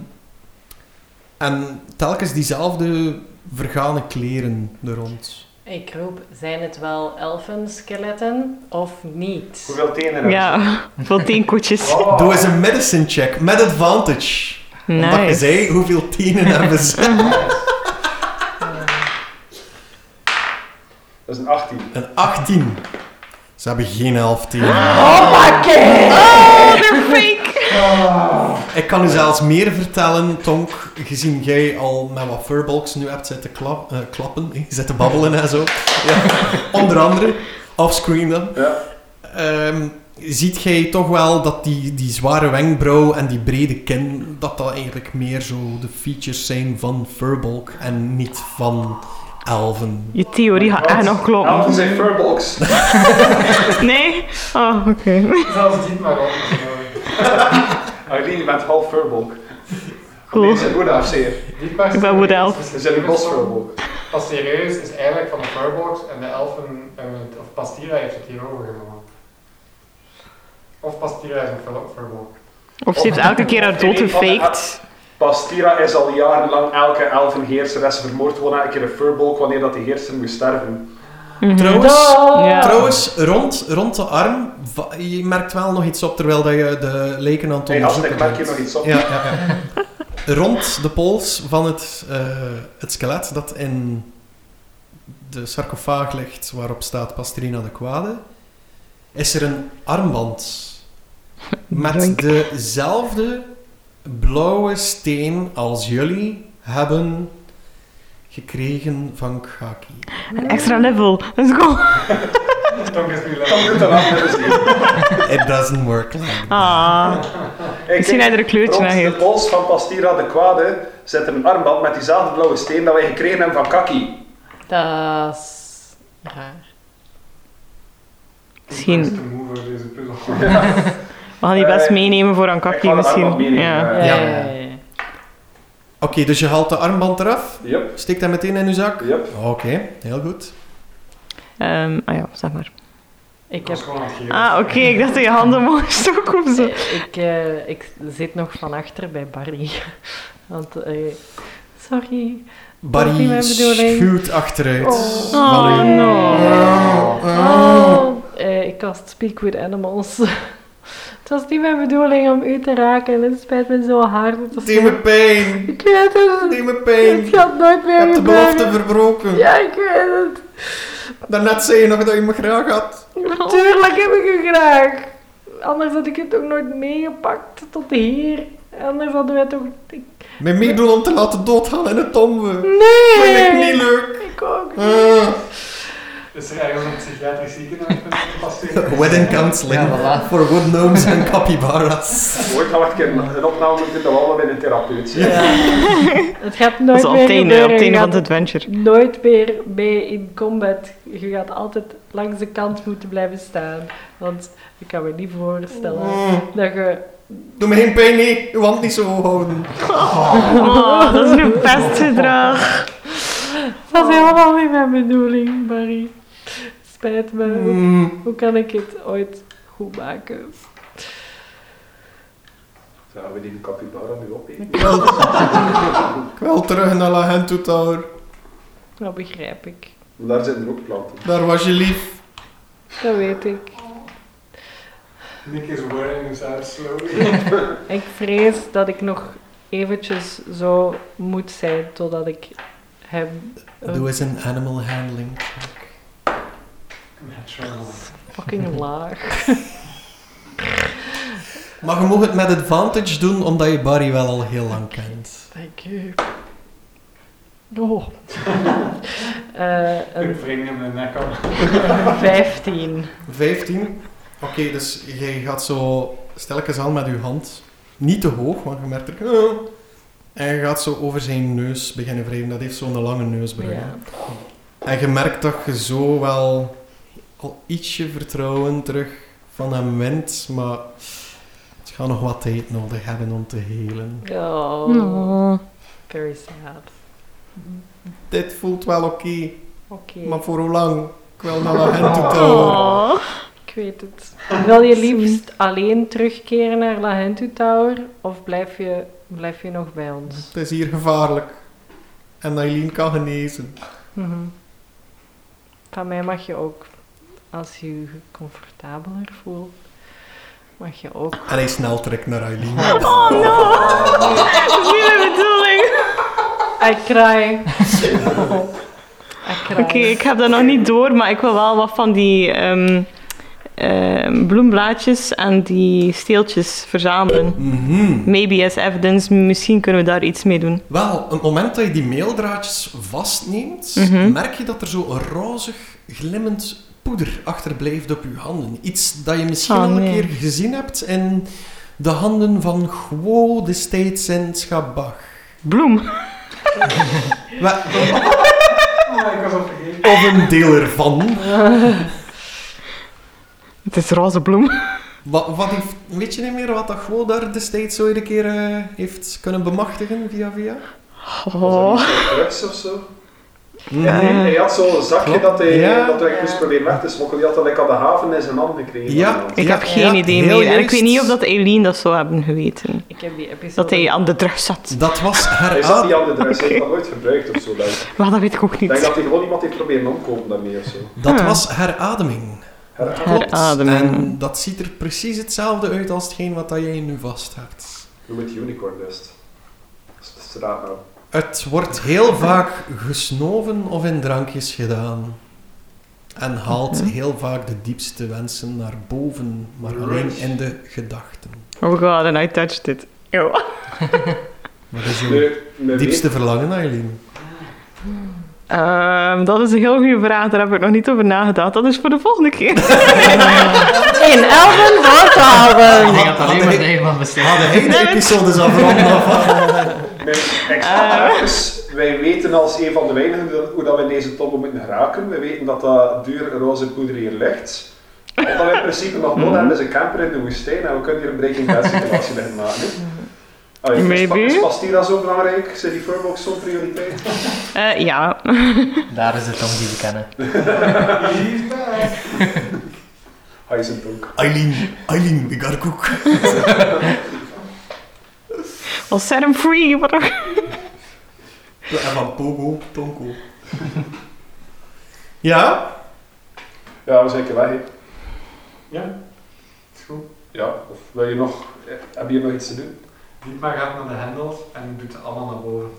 B: en telkens diezelfde vergane kleren er rond.
G: Ik roep, zijn het wel elfenskeletten of niet?
E: Hoeveel tenen heb je?
F: Ja, veel teenkoetjes.
E: Oh.
B: Doe eens een medicine check met advantage. Omdat je
F: Nice.
B: zei hoeveel tenen hebben ze.
E: Dat is een 18.
B: Een 18. Ze hebben geen elf tenen.
F: Oh, they're fake!
B: Ik kan u zelfs meer vertellen, Tonk, gezien jij al met wat furbalks nu hebt zitten klap, eh, klappen, eh, zitten babbelen en zo. Ja. Onder andere, offscreen dan.
E: Ja.
B: Ehm, ziet jij toch wel dat die, die zware wenkbrauw en die brede kin, dat dat eigenlijk meer zo de features zijn van furbalk en niet van elven.
F: Je theorie gaat echt nog
E: Elfen
F: kloppen.
E: zijn furbalks.
F: Nee? Oh, oké.
J: Zelfs niet maar op. sorry.
E: Aileen, je bent half furbalk.
F: Cool.
E: Nee, ze zijn goede afzeer.
J: Niet maar
F: Ik ben Wood Elf.
E: Ze zijn een bos furbalk.
J: Pas serieus is eigenlijk van de Firebox en de elfen, hebben het- of Pastira heeft het hier overgenomen. Of Pastira is een Fir- Firebox.
F: Of ze heeft elke keer haar dood gefaked.
E: Pastira is al jarenlang elke elfenheerseres vermoord worden elke keer een furbolk wanneer dat die heerser moest sterven.
B: Trouwens,
F: Mhm. Ja.
B: trouwens rond, rond de arm, va- je merkt wel nog iets op terwijl dat je de leken aan het
E: Hey, Hans,
B: onderzoeken
E: ik merk
B: bent.
E: hier nog iets op.
B: Ja, ja, ja. Rond de pols van het, eh, het skelet dat in de sarcofaag ligt waarop staat Pastrina de Kwade, is er een armband met
F: Dank.
B: dezelfde blauwe steen als jullie hebben gekregen van Khaki.
F: Een extra level. Let's go.
J: Tonk is nu
E: Dan doet dat wel met een zeven.
B: It doesn't work like that.
F: Ah,
E: Hey,
F: misschien
E: kijk,
F: hij er een kleurtje aan
E: Rond de
F: geeft.
E: pols van Pastira de Kwade zit een armband met diezelfde blauwe steen dat wij gekregen hebben van Kaki.
G: Dat is raar.
F: Misschien.
J: te moe voor deze puzzel.
F: We gaan die best
E: Eh,
F: meenemen voor een
E: ik ga
F: kakje
E: de armband
F: misschien.
E: meenemen,
F: Ja.
G: Ja,
B: Ja.
G: ja, ja. ja.
B: Oké, dus je haalt de armband eraf,
E: Yep,
B: steekt dat meteen in uw zak.
E: yep.
B: Oké, heel goed.
E: eh.
F: Ehm, ah ja, zeg maar.
G: Ik
J: Ik was
G: heb...
J: gewoon aan het geven.
F: Ah, oké. Ik dacht dat je handen mooi stok of zo.
G: Ik, eh, ik zit nog van achter bij Barry. Want, eh, sorry. Dat is
B: Barry
G: niet mijn bedoeling.
B: schuwt achteruit.
G: Oh.
F: Oh,
B: Van u.
F: no.
G: Oh, eh, ik cast Speak with Animals. Het was niet mijn bedoeling om u te raken. Het spijt me zo hard. Het was
B: Doe me pijn.
G: Ik weet het.
B: Doe me pijn.
G: Het gaat nooit
B: Je
G: meer
B: hebt de belofte
G: gebeuren.
B: verbroken.
G: Ja, ik weet het.
B: Daarnet zei je nog dat je me graag had.
G: Natuurlijk heb ik u graag. Anders had ik het ook nooit meegepakt tot hier. Anders hadden wij toch... Ik...
B: Me meedoen om te laten doodgaan in de tombe.
G: Nee!
B: Vind ik niet leuk.
G: Ik ook
B: Ah.
J: Is er ergens een psychiatrisch ziekenhuis met een Pastira?
B: Wedding counseling
D: Ja, voilà.
B: voor wood gnomes en capybaras.
E: Ooit gaan we een keer een een opname moeten doen, dat we allebei een therapeut zijn.
G: Ja. Het gaat
F: Dat
G: nooit
F: is op
G: meer
F: het einde,
G: gebeuren.
F: op het
G: Je
F: einde van
G: gaat
F: het adventure.
G: nooit meer mee in combat. Je gaat altijd langs de kant moeten blijven staan. Want ik kan me niet voorstellen dat je...
B: Doe me geen pijn, nee. Je wand niet zo hoog houden.
F: Oh, dat is nu pestgedrag.
G: Dat is helemaal niet mijn bedoeling, Barry. Spijt me. Hoe-
B: Mm.
G: Hoe kan ik het ooit goed maken?
E: Zouden we die capybara nu opeten?
B: Ik wil- Ik wil terug naar La Hentu Tower.
G: Dat begrijp ik.
E: Daar zijn er ook planten.
B: Daar was je lief.
G: Dat weet ik.
J: Nick is wearing his out slowly.
G: Ik vrees dat ik nog eventjes zo moet zijn totdat ik hem...
B: Doe eens een animal handling.
J: Natural.
G: Fucking laag.
B: Maar je mag het met advantage doen, omdat je Barry wel al heel lang kent.
G: Thank you. Oh. Eh,
J: Ik
G: een
J: wring hem de nek aan.
G: 15.
B: 15. Oké, dus jij gaat zo stelkens aan met je hand. Niet te hoog, want je merkt er... "Ah." En je gaat zo over zijn neus beginnen wrijven. Dat heeft zo'n lange neusbrug. hè.
G: Ja.
B: En je merkt dat je zo wel al ietsje vertrouwen terug van hem wint. Maar het gaat nog wat tijd nodig hebben om te helen.
G: Oh,
F: Oh.
G: very sad.
B: Dit voelt wel oké,
G: Oké,
B: maar voor hoe lang? Ik wil naar La Hen toe touwen.
F: Oh.
G: ik weet het. Wil je liefst alleen terugkeren naar La Hentu Tower of blijf je, blijf je nog bij ons?
B: Het is hier gevaarlijk. En Aileen kan genezen.
G: Mhm. Van mij mag je ook, als je je comfortabeler voelt, mag je ook.
B: En hij snel trekt naar Aileen.
F: Oh no! Dat is niet mijn bedoeling.
G: I cry. I cry.
F: Oké, ik heb dat nog niet door, maar ik wil wel wat van die ehm, ehm, bloemblaadjes en die steeltjes verzamelen.
B: Mhm.
F: Maybe as evidence, misschien kunnen we daar iets mee doen.
B: Wel, op het moment dat je die meeldraadjes vastneemt,
F: Mhm.
B: merk je dat er zo een rozig, glimmend poeder achterblijft op je handen. Iets dat je misschien
F: Oh,
B: al een
F: nee.
B: keer gezien hebt in de handen van Guo destijds in Schabach.
F: Bloem.
B: Wel,
J: Oh, ik was al vergeten.
B: Of een deel ervan.
F: Het is roze bloem.
B: Wat, wat heeft, weet je niet meer wat dat Guo daar destijds zo een keer eh, heeft kunnen bemachtigen via via?
F: Oh.
E: Was dat niet zo'n drugs of zo? Ja, nee, hij had zo'n zakje
B: Mhm. Klopt.
E: dat hij,
B: Ja.
E: dat hij moest proberen weg te smokkelen. Die had dat like, aan de haven in zijn hand gekregen.
B: Ja.
F: Ik heb geen
B: ja,
F: idee
B: heel
F: meer. En ik
B: juist.
F: weet niet of dat Eileen dat zou hebben geweten.
G: Ik heb die episode.
F: Dat hij aan de drug zat.
B: Dat was haar
E: Hij zat
B: aan.
E: niet aan de drugs, hij heeft dat nooit gebruikt of zo. Denk. ik.
F: Maar dat weet ik ook
E: Ik denk
F: niet.
E: dat hij gewoon iemand heeft proberen omkomen daarmee of zo.
B: Dat
F: Ah.
B: was herademing.
E: Her-
B: Klopt.
F: Herademing.
B: En dat ziet er precies hetzelfde uit als hetgeen wat dat jij nu vast hebt.
E: Noem het unicorn dust. Dat is raar nou.
B: Het wordt heel vaak gesnoven of in drankjes gedaan. En haalt
F: Mhm.
B: heel vaak de diepste wensen naar boven, maar alleen in de gedachten.
F: Oh god, and I touched it. Ew.
B: Wat is uw
E: De, mijn
B: diepste verlangen, Aileen?
F: Ehm, dat is een heel goede vraag, daar heb ik nog niet over nagedacht. Dat is voor de volgende keer. In elven
D: Ik
F: woordhaven.
D: denk dat alleen maar jij mag
B: De
D: beslissen.
B: hele episode is afronden
E: Mijn extra is, wij weten als een van de weinigen hoe- hoe dat we in deze toppen moeten geraken. We weten dat dat duur roze poeder hier ligt. Wat dat we in principe nog nodig hebben is een camper in de woestijn en we kunnen hier een breaking bad situatie liggen maken. hè. Allee, is
F: Maybe.
E: Pa- Is Pastira zo belangrijk? Zijn die Furbox zo'n prioriteit?
F: Eh, ja.
D: Daar is de tong die we kennen.
E: Hij is een donk.
B: Aileen, Aileen, ik ga koek.
F: Well, set him free. Wat een-
B: En van Pogo, Tonko. Ja?
E: Ja, we zijn een keer weg. hè.
J: Ja, is goed.
E: Ja, of wil je nog, eh, heb je hier nog iets te doen?
J: Dietmar gaat naar de hendels en doet ze allemaal naar boven.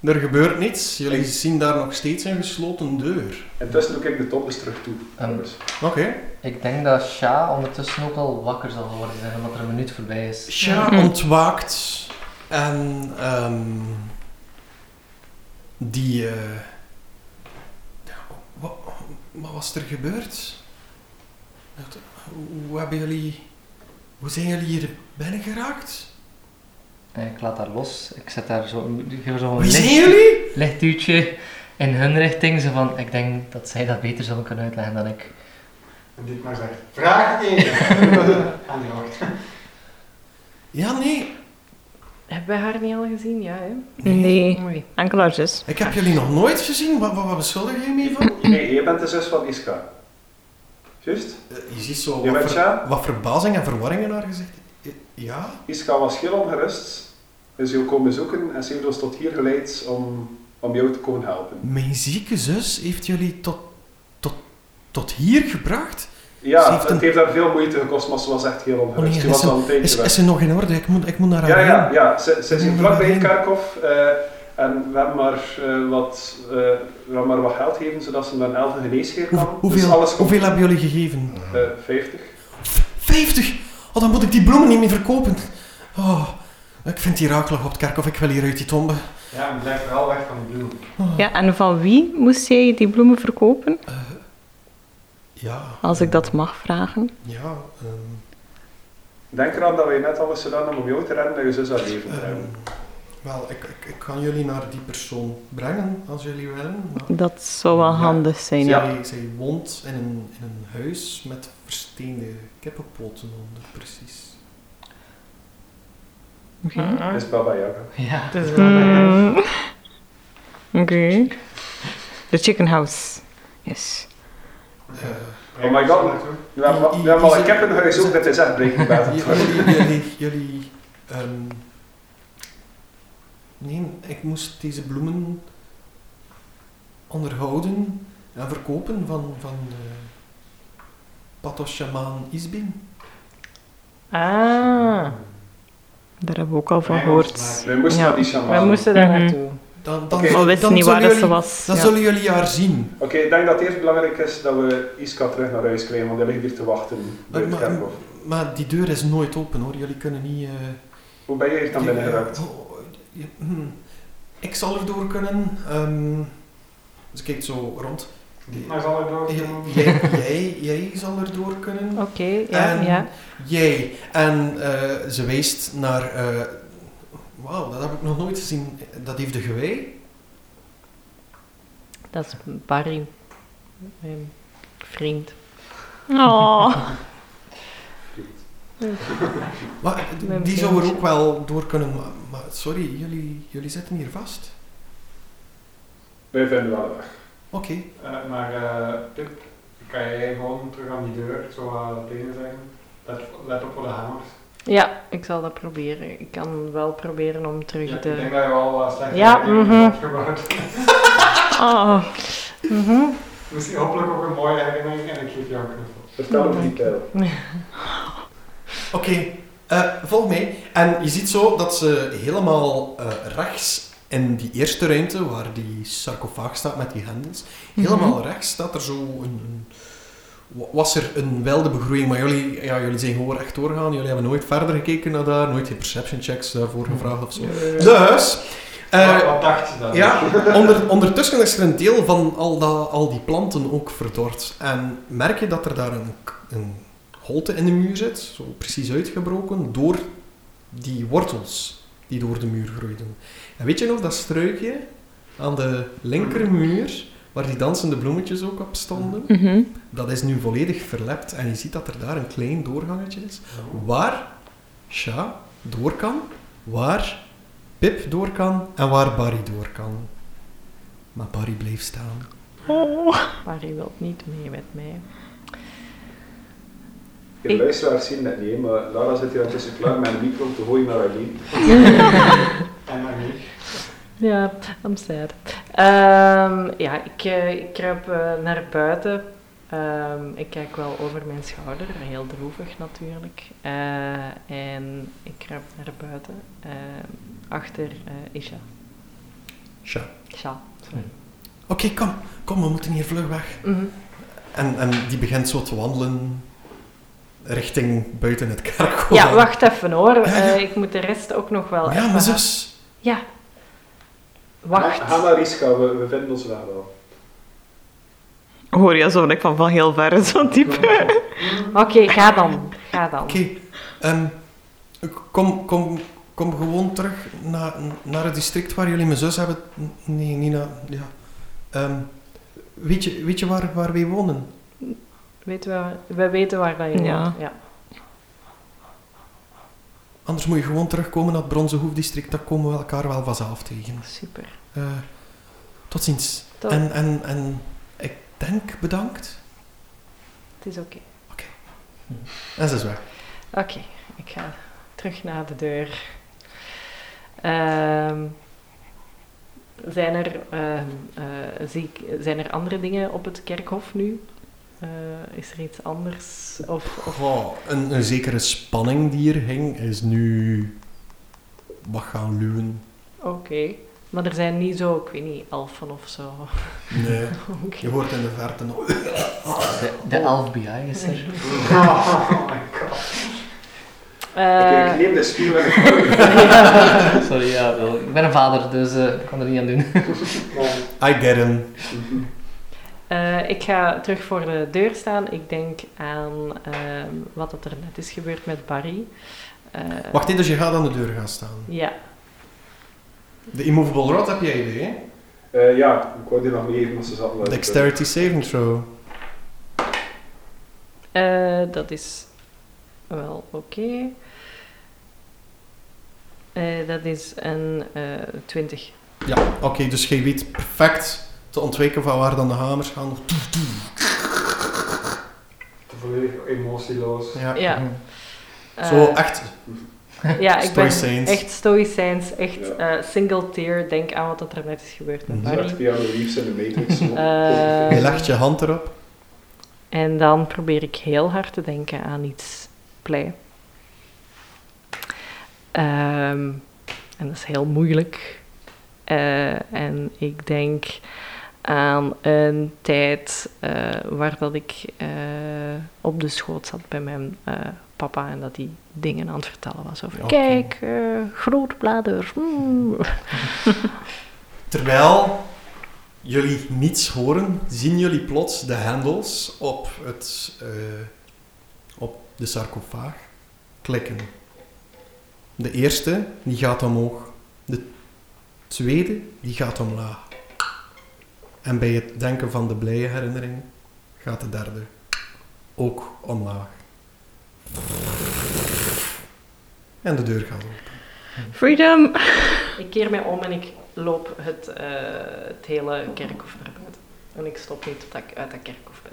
B: Er gebeurt niets. Jullie zien daar nog steeds een gesloten deur.
E: Intussen doe ik de top dus terug toe.
D: Ehm.
E: Dus.
B: Oké.
D: Ik denk dat Sha ondertussen ook al wakker zal geworden zijn, omdat er een minuut voorbij is.
B: Sja
F: Ja.
B: ontwaakt en ehm, die. eh, ja, wa- wat was er gebeurd? Dat- Hoe hebben jullie. Hoe zijn jullie hier binnen geraakt?
D: Eh, Ik laat haar los. Ik zet daar zo, ik geef haar zo een
B: Wie zijn
D: licht,
B: jullie?
D: lichtduwtje in hun richting. Zo van, ik denk dat zij dat beter zullen kunnen uitleggen dan ik.
J: En Dietmar zegt, vraag 1. Aan die hoort.
B: Ja, nee.
G: Hebben we haar niet al gezien? Ja, hè?
F: Nee,
G: Mooi.
F: enkel haar zus.
B: Ik heb jullie nog nooit gezien. Wat, wat, wat beschuldig je me van?
E: Nee, jij bent de zus van Iska. Juist?
B: Eh, Je ziet zo
E: Je
B: wat,
E: bent
B: ver-
E: Sja?
B: wat verbazing en verwarring in haar gezicht. Eh, Ja?
E: Iska was heel ongerust, dus wil komen zoeken en ze heeft ons tot hier geleid om, om jou te komen helpen.
B: Mijn zieke zus heeft jullie tot, tot, tot hier gebracht? Ze
E: Ja,
B: heeft een-
E: het heeft haar veel moeite gekost, maar ze was echt heel
B: Oh
E: ongerust.
B: nee,
E: Ze
B: is
E: was
B: een-
E: al een tijdje
B: Is,
E: weg.
B: is ze nog in orde? Ik moet, ik moet naar haar
E: Ja, ja,
B: heen.
E: ja. Ze, ze
B: Moet
E: zit vlakbij
B: daarheen.
E: het kerkhof eh, en we hebben maar, eh, wat, eh, we hebben maar wat geld geven zodat ze naar een elfen geneesheer kan.
B: Hoe- hoeveel,
E: dus alles komt.
B: hoeveel hebben jullie gegeven?
E: Eh, 50.
B: 50! Oh, dan moet ik die bloemen niet meer verkopen. Oh, ik vind die rakelig op het kerkhof. Ik wil hier uit die tombe.
J: Ja, en blijf vooral weg van die bloemen.
B: Oh,
F: Ja, en van wie moest jij die bloemen verkopen?
B: Ja.
F: Als ik dat mag vragen.
B: Ja. ehm,
E: Denk eraan dat wij net alles gedaan hebben om jou te redden en je zus haar leven te
B: ehm,
E: redden.
B: wel, ik, ik, ik kan jullie naar die persoon brengen, als jullie willen. Maar
F: Dat zou wel
B: Ja.
F: handig zijn.
E: Ja.
B: zij, zij woont in een, in een huis met versteende kippenpoten onder, precies.
F: Oké.
E: Dat is Baba Yaga.
D: Ja.
G: Het is wel leuk.
F: Mm. Oké. The chicken house. Yes.
E: Oh my god. We hebben, we hebben al een kippenhuis ook, dat is echt breaking bad.
B: J- jullie, jullie, jullie ehm, nee, ik moest deze bloemen onderhouden en verkopen van, van eh Patos Shaman Isbin.
G: Ah,
F: Daar hebben we ook al van gehoord.
E: We moesten
F: Ja.
E: naar die shaman.
G: we moesten daar
F: Mhm.
G: naartoe.
B: Dan, dan,
E: Oké.
F: Maar
B: dan
F: we wisten Oh, niet waar
B: zullen
F: dat ze
B: jullie,
F: was.
B: Dan
F: Ja.
B: zullen jullie haar zien.
E: Oké, ik denk dat het eerst belangrijk is dat we Iska terug naar huis krijgen, want hij ligt hier te wachten bij het
B: Maar-
E: kerkhof.
B: Maar die deur is nooit open hoor, jullie kunnen niet... eh,
E: Hoe ben je hier dan binnen
B: jullie-
E: geraakt?
B: Oh, je- hm. ik zal er door kunnen. ehm, ze kijkt zo rond.
C: Nou,
J: Dietmar zal er door.
B: Jij, jij, jij zal er door kunnen.
F: Oh.
G: Oké, ja,
B: En
G: ja.
B: Jij. En eh, ze wijst naar... eh, Wauw, dat heb ik nog nooit gezien. Dat heeft de gewei.
G: Dat is Barry. Mijn vriend.
F: Oh.
B: Maar eh,
G: Mijn
B: die zou er
G: vriendje.
B: ook wel door kunnen. Maar, maar sorry, jullie, jullie zitten hier vast.
E: Wij vinden wel een weg.
B: Oké.
J: Eh, maar eh Pip, kan jij gewoon terug aan die deur zo eh, tegen zeggen? Let, let op voor de hamers.
G: Ja, ik zal dat proberen. Ik kan wel proberen om terug
J: Ja, ik
G: de...
J: denk dat je wel eh, slecht
G: Ja,
J: dingen
G: mhm.
J: hebt opgebouwd.
F: Oh.
G: Mhm.
J: Misschien hopelijk ook een mooie herinnering en ik geef jou een knuffel.
E: Vertel hem die pijl.
B: Oké. Eh, volg mij. En je ziet zo dat ze helemaal eh, rechts in die eerste ruimte, waar die sarcofaag staat met die hendels, helemaal rechts staat er zo een... een- wa- was er een welde begroeiing, maar jullie, ja, jullie zijn gewoon recht doorgaan. Jullie hebben nooit verder gekeken naar daar, nooit geen perception checks daarvoor gevraagd of zo. Dus... eh,
C: wat, wat dacht je dan?
B: ja, onder, ondertussen is er een deel van al, dat, al die planten ook verdord. En merk je dat er daar een, k- een holte in de muur zit, zo precies uitgebroken, door die wortels die door de muur groeiden. En weet je nog dat struikje aan de linkermuur, waar die dansende bloemetjes ook op stonden?
G: Mhm.
B: Dat is nu volledig verlept en je ziet dat er daar een klein doorgangetje is. Waar Sha door kan, waar Pip door kan en waar Barry door kan. Maar Barry bleef staan.
G: Oh.
F: Maar je wilt niet mee met mij.
E: De luisteraars zien dat niet, hè, maar Lara zit hier tussen klaar met een micro te gooien naar Aileen.
C: En dan niet.
F: Ja, I'm sad. Ehm, ja, ik, eh, ik kruip eh, naar buiten. Ehm, ik kijk wel over mijn schouder, heel droevig natuurlijk. Eh, en ik kruip naar buiten, eh, achter eh, Isha.
B: Sha.
F: Isha, sorry.
B: Oké, kom. Kom, we moeten hier vlug weg.
F: Mhm.
B: En, en die begint zo te wandelen richting buiten het kerkhof.
F: Ja, wacht even hoor.
B: Ja, ja.
F: Eh, ik moet de rest ook nog wel
B: Ja,
F: even-
B: mijn zus.
F: Ja.
E: Ha-
F: Wacht.
E: Ga naar Riska, we, we vinden ons daar wel.
G: Hoor je alsof ik van, van heel ver zo diep.
F: Oké, ga dan. Ga dan.
B: Oké, ehm, kom, kom, kom gewoon terug naar, naar het district waar jullie mijn zus hebben. Nee, Nina, ja. Ehm, weet, je, weet je waar, waar wij wonen?
F: Weten we, we weten waar dat je
G: Ja.
F: woont, ja.
B: Anders moet je gewoon terugkomen naar het Bronzen Hoefdistrict. Daar komen we elkaar wel vanzelf tegen.
F: Super.
B: Eh, tot ziens.
F: Tot.
B: En, en, en ik denk bedankt.
F: Het is oké.
B: En ze is weg.
F: Oké, ik ga terug naar de deur. Ehm, zijn, er, ehm, eh, zie ik, zijn er andere dingen op het kerkhof nu? Eh, is er iets anders? Of, of...
B: Goh, een, een zekere spanning die hier hing is nu... Wat gaan luwen?
F: Oké. Maar er zijn niet zo, ik weet niet, elfen of zo.
B: Nee,
F: Oké.
B: je hoort in de verte nog...
D: De, de FBI is er.
C: Oh my god.
E: Oké,
F: Eh,
E: ik neem de spier weg. Ik
D: Sorry, ja, wel, ik ben een vader, dus eh, ik kan er niet aan doen.
B: I get him.
F: Eh, ik ga terug voor de deur staan. Ik denk aan ehm, wat dat er net is gebeurd met Barry. Eh,
B: Wacht, dus je gaat aan de deur gaan staan.
F: Ja,
B: De immovable rod heb jij idee, hè?
E: Eh, ja, ik wou die nog meegeven, maar ze zat wel.
B: Dexterity saving throw.
F: Eh, dat is wel oké. Eh, dat is een eh 20.
B: Ja, oké, dus jij weet perfect te ontwijken van waar dan de hamers gaan.
C: Te volledig emotieloos.
B: Ja.
F: Ja. Eh,
B: Zo echt
F: ja, ik ben
B: stoïcijns.
F: echt stoïcijns, echt
E: Ja.
F: eh, single tear. Denk aan wat dat er net is gebeurd met
B: Mhm.
E: Ze
F: Barry.
E: zat via de Reeves in de Matrix.
F: Eh,
B: je legt je hand erop.
F: En dan probeer ik heel hard te denken aan iets blij. Ehm, en dat is heel moeilijk. Eh, en ik denk aan een tijd eh, waar dat ik eh, op de schoot zat bij mijn eh, papa en dat hij dingen aan het vertellen was over
B: Oké.
F: kijk, eh grootblader. mm."
B: Terwijl jullie niets horen, zien jullie plots de hendels op, het, eh, op de sarcofaag klikken. De eerste, die gaat omhoog. De tweede, die gaat omlaag. En bij het denken van de blije herinnering gaat de derde ook omlaag. En de deur gaat open.
G: Freedom.
F: Ik keer mij om en ik loop het, eh, het hele kerkhof naar buiten. En ik stop niet tot ik uit dat kerkhof ben.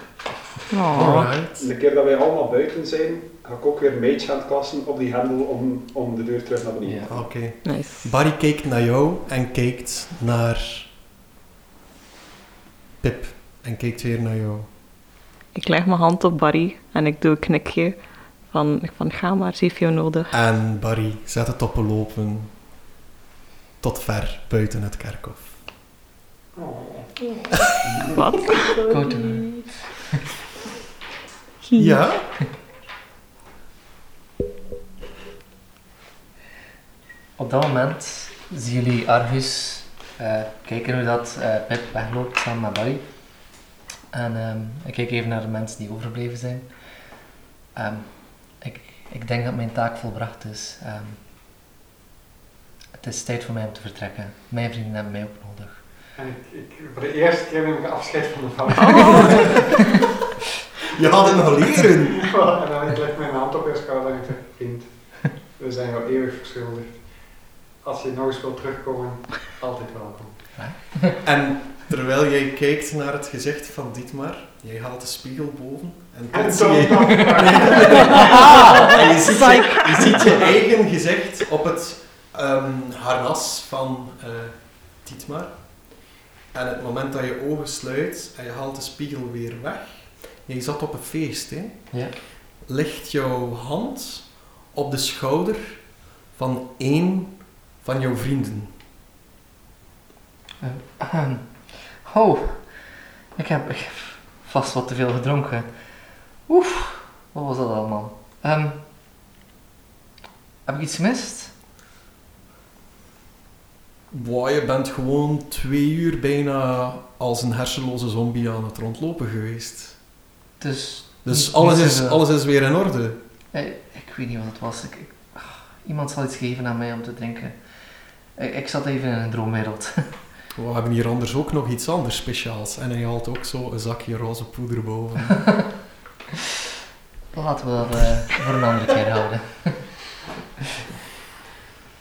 G: Oh.
E: De Dus keer dat wij allemaal buiten zijn, ga ik ook weer Mage gaan kassen op die hendel om, om de deur terug naar beneden.
D: Ja.
B: Oké.
G: Nice.
B: Barry kijkt naar jou en kijkt naar Pip en kijkt weer naar jou.
G: Ik leg mijn hand op Barry en ik doe een knikje.
F: Van, van ga maar, ze heeft jou nodig.
B: En Barry zet het op lopen tot ver buiten het kerkhof.
J: Oh,
F: Wat?
D: Korte.
B: Ja?
D: Op dat moment zien jullie Argus eh, kijken hoe dat eh, Pip wegloopt samen met Barry. En ehm, ik kijk even naar de mensen die overgebleven zijn. Ehm, ik, ik denk dat mijn taak volbracht is. Ehm, het is tijd voor mij om te vertrekken. Mijn vrienden hebben mij ook nodig.
J: En ik, ik, voor de eerste keer neem ik afscheid van de familie.
B: Je had het nog leren.
J: En dan ik leg mijn hand op je schouder en ik zeg, vriend, we zijn jou eeuwig verschuldigd. Als je nog eens wilt terugkomen, altijd welkom.
B: En terwijl jij kijkt naar het gezicht van Dietmar, jij haalt de spiegel boven en
J: En
B: plots zie
J: zo.
B: je... En je, ziet je, je ziet je eigen gezicht op het ehm, harnas van eh Dietmar. En het moment dat je ogen sluit en je haalt de spiegel weer weg... Jij zat op een feest, hè?
D: Ja.
B: Ligt jouw hand op de schouder van één van jouw vrienden.
D: Ahem. Ehm, Oh, ik heb, ik heb vast wat te veel gedronken. Oef, wat was dat allemaal? Ehm, heb ik iets gemist?
B: Boah, je bent gewoon twee uur bijna als een hersenloze zombie aan het rondlopen geweest.
D: Dus,
B: Dus
D: Niet-
B: alles
D: niet
B: is,
D: zoveel.
B: alles is weer in orde.
D: eh, ik weet niet wat het was. Ik, ik- ah, iemand zal iets geven aan mij om te drinken. Ik, ik zat even in een droomwereld.
B: We hebben hier anders ook nog iets anders speciaals. En hij haalt ook zo een zakje roze poeder boven.
D: Laten we dat eh, voor een andere keer houden.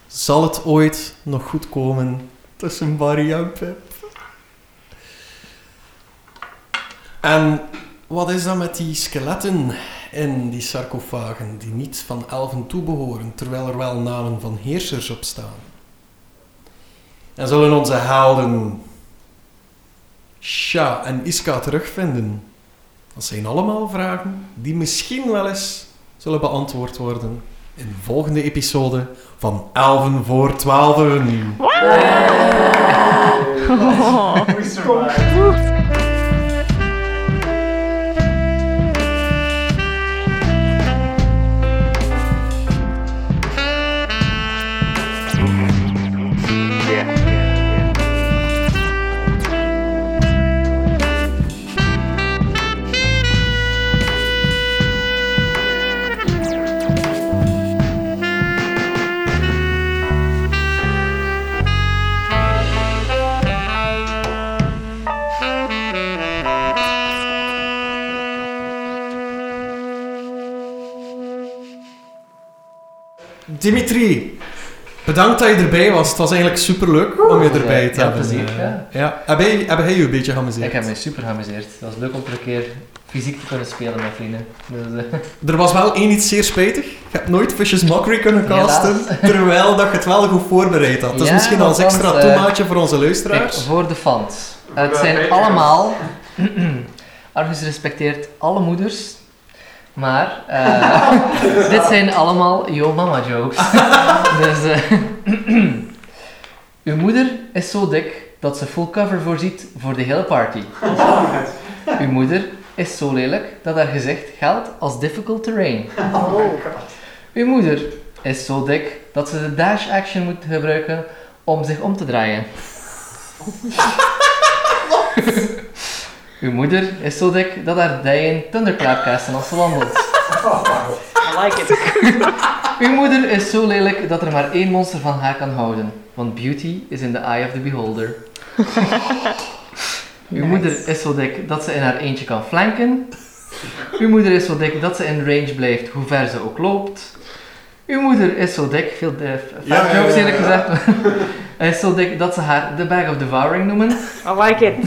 B: Zal het ooit nog goed komen tussen Barry en Pip? En wat is dan met die skeletten in die sarcofagen die niet van elfen toebehoren, terwijl er wel namen van heersers op staan? En zullen onze helden Sha en Iska terugvinden? Dat zijn allemaal vragen die misschien wel eens zullen beantwoord worden in de volgende episode van elven voor twaalfen.
F: Oh.
B: Dimitri, bedankt dat je erbij was. Het was eigenlijk superleuk om je erbij te
D: Ja,
B: hebben.
D: plezier,
B: Eh,
D: ja.
B: Hebben jij- hebben jij je een beetje geamuseerd?
D: Ik heb mij super geamuseerd. Het was leuk om er een keer fysiek te kunnen spelen met vrienden. Dus, eh,
B: Er was wel één iets zeer spijtig. Je hebt nooit Vicious Mockery kunnen casten,
D: Helaas.
B: terwijl dat je het wel goed voorbereid had. Dat is
D: Ja,
B: misschien als
D: althans,
B: extra
D: eh,
B: tomaatje voor onze
D: Kijk,
B: luisteraars.
D: voor de fans. Het
J: de
D: zijn
J: haters.
D: allemaal... Argus respecteert alle moeders. Maar... eh, dit zijn allemaal yo mama jokes. dus... eh, uw moeder is zo dik dat ze full cover voorziet voor de hele party. Uw moeder is zo lelijk dat haar gezicht geldt als difficult terrain. Uw moeder is zo dik dat ze de dash action moet gebruiken om zich om te draaien. Uw moeder is zo dik dat haar dijen thunderclap kasten als ze wandelt.
G: I like it.
D: Uw moeder is zo lelijk dat er maar één monster van haar kan houden, want beauty is in the eye of the beholder. Uw moeder is zo dik dat ze in haar eentje kan flanken. Uw moeder is zo dik dat ze in range blijft, hoe ver ze ook loopt. Uw moeder is zo dik, veel de
B: Ja, ja, ja,
D: jokes eerlijk
B: ja.
D: gezegd, is zo dik dat ze haar the bag of devouring noemen.
G: I like it.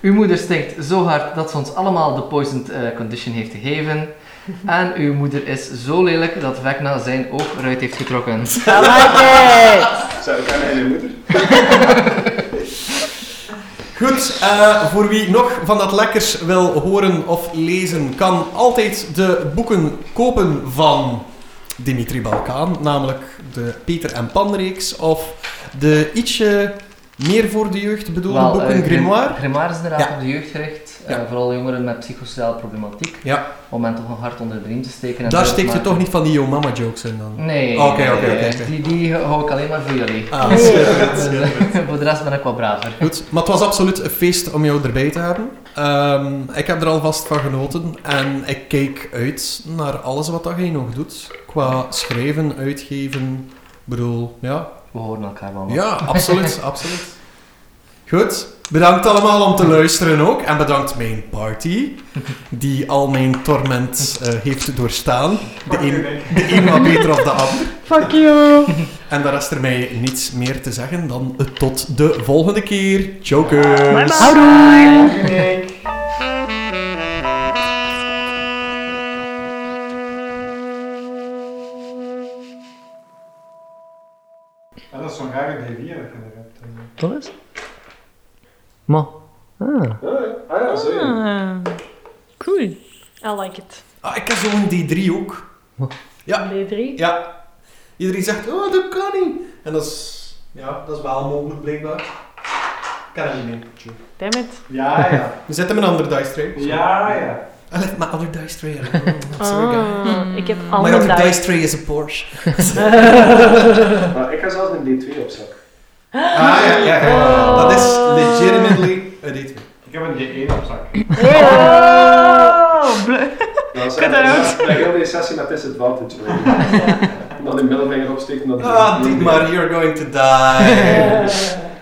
D: Uw moeder stinkt zo hard dat ze ons allemaal de poisoned eh, condition heeft gegeven. En uw moeder is zo lelijk dat Vecna zijn oog eruit heeft getrokken.
G: I like it.
E: Zou ik aan mijn moeder?
B: Goed, Goed, eh, voor wie nog van dat lekkers wil horen of lezen, kan altijd de boeken kopen van Dimitri Balkaan, namelijk de Peter en Pan reeks of de ietsje meer voor de jeugd bedoelde
D: Wel,
B: boeken
D: eh, Grim-
B: Grimoire.
D: Grimoire is inderdaad
B: Ja.
D: op de jeugd gericht. eh,
B: Ja.
D: vooral jongeren met psychosociale problematiek.
B: Ja.
D: Om hen toch nog hard onder de riem te steken. en
B: Daar
D: te
B: steekt je
D: maken.
B: toch niet van die Yo Mama jokes in dan?
D: Nee.
B: Oké,
D: nee,
B: oké,
D: nee,
B: oké,
D: nee.
B: oké.
D: Die, die hou ik alleen maar voor jullie.
B: Ah, schitterend,
D: Dus, eh,
B: schitterend.
D: voor de rest ben ik wat braver.
B: Goed, maar het was absoluut een feest om jou erbij te hebben. Ehm, ik heb er alvast van genoten en ik kijk uit naar alles wat dat jij nog doet. Qua schrijven, uitgeven, ik bedoel, ja.
D: We horen elkaar wel. nog.
B: Ja, absoluut, absoluut. Goed, bedankt allemaal om te luisteren ook. En bedankt mijn party, die al mijn torment eh, heeft doorstaan. De een, de een wat beter of de ander.
F: Fuck you!
B: En daar is er mij niets meer te zeggen dan eh, tot de volgende keer. Jokers!
F: Houdoe!
J: Ja, dat is zo'n rare D4 dat je er hebt.
D: Wat is? Maar. Ah.
E: Ah ja, zo ja.
F: Ah, cool.
G: I like it.
B: Ah, ik heb zo'n D3 ook. Ja.
G: D3.
B: Ja. Iedereen zegt, oh, dat kan niet. En dat is, ja, dat is wel mogelijk, blijkbaar. Ik Kan er niet mee.
G: Damn it.
J: Ja, ja.
B: We zetten een andere dice tray.
J: Ja, ja.
B: I left my other dice tray at home. I'm sorry, guys.
G: Ah, ik heb
B: My
G: allemaal
B: other
G: dice.
B: dice tray is a Porsche.
E: Maar ik ga zelfs een D2 op zak.
B: Ah, ja, ja, ja.
F: Oh.
B: Dat is legitimately een D2.
J: Ik heb een D1 op zak.
F: Oh, blu-
E: Nou,
F: Cut that out.
E: Ik heb deze sessie met disadvantage. En dan de middelvinger opsteken.
B: Ah,
E: die
B: Dietmar, you're going to die.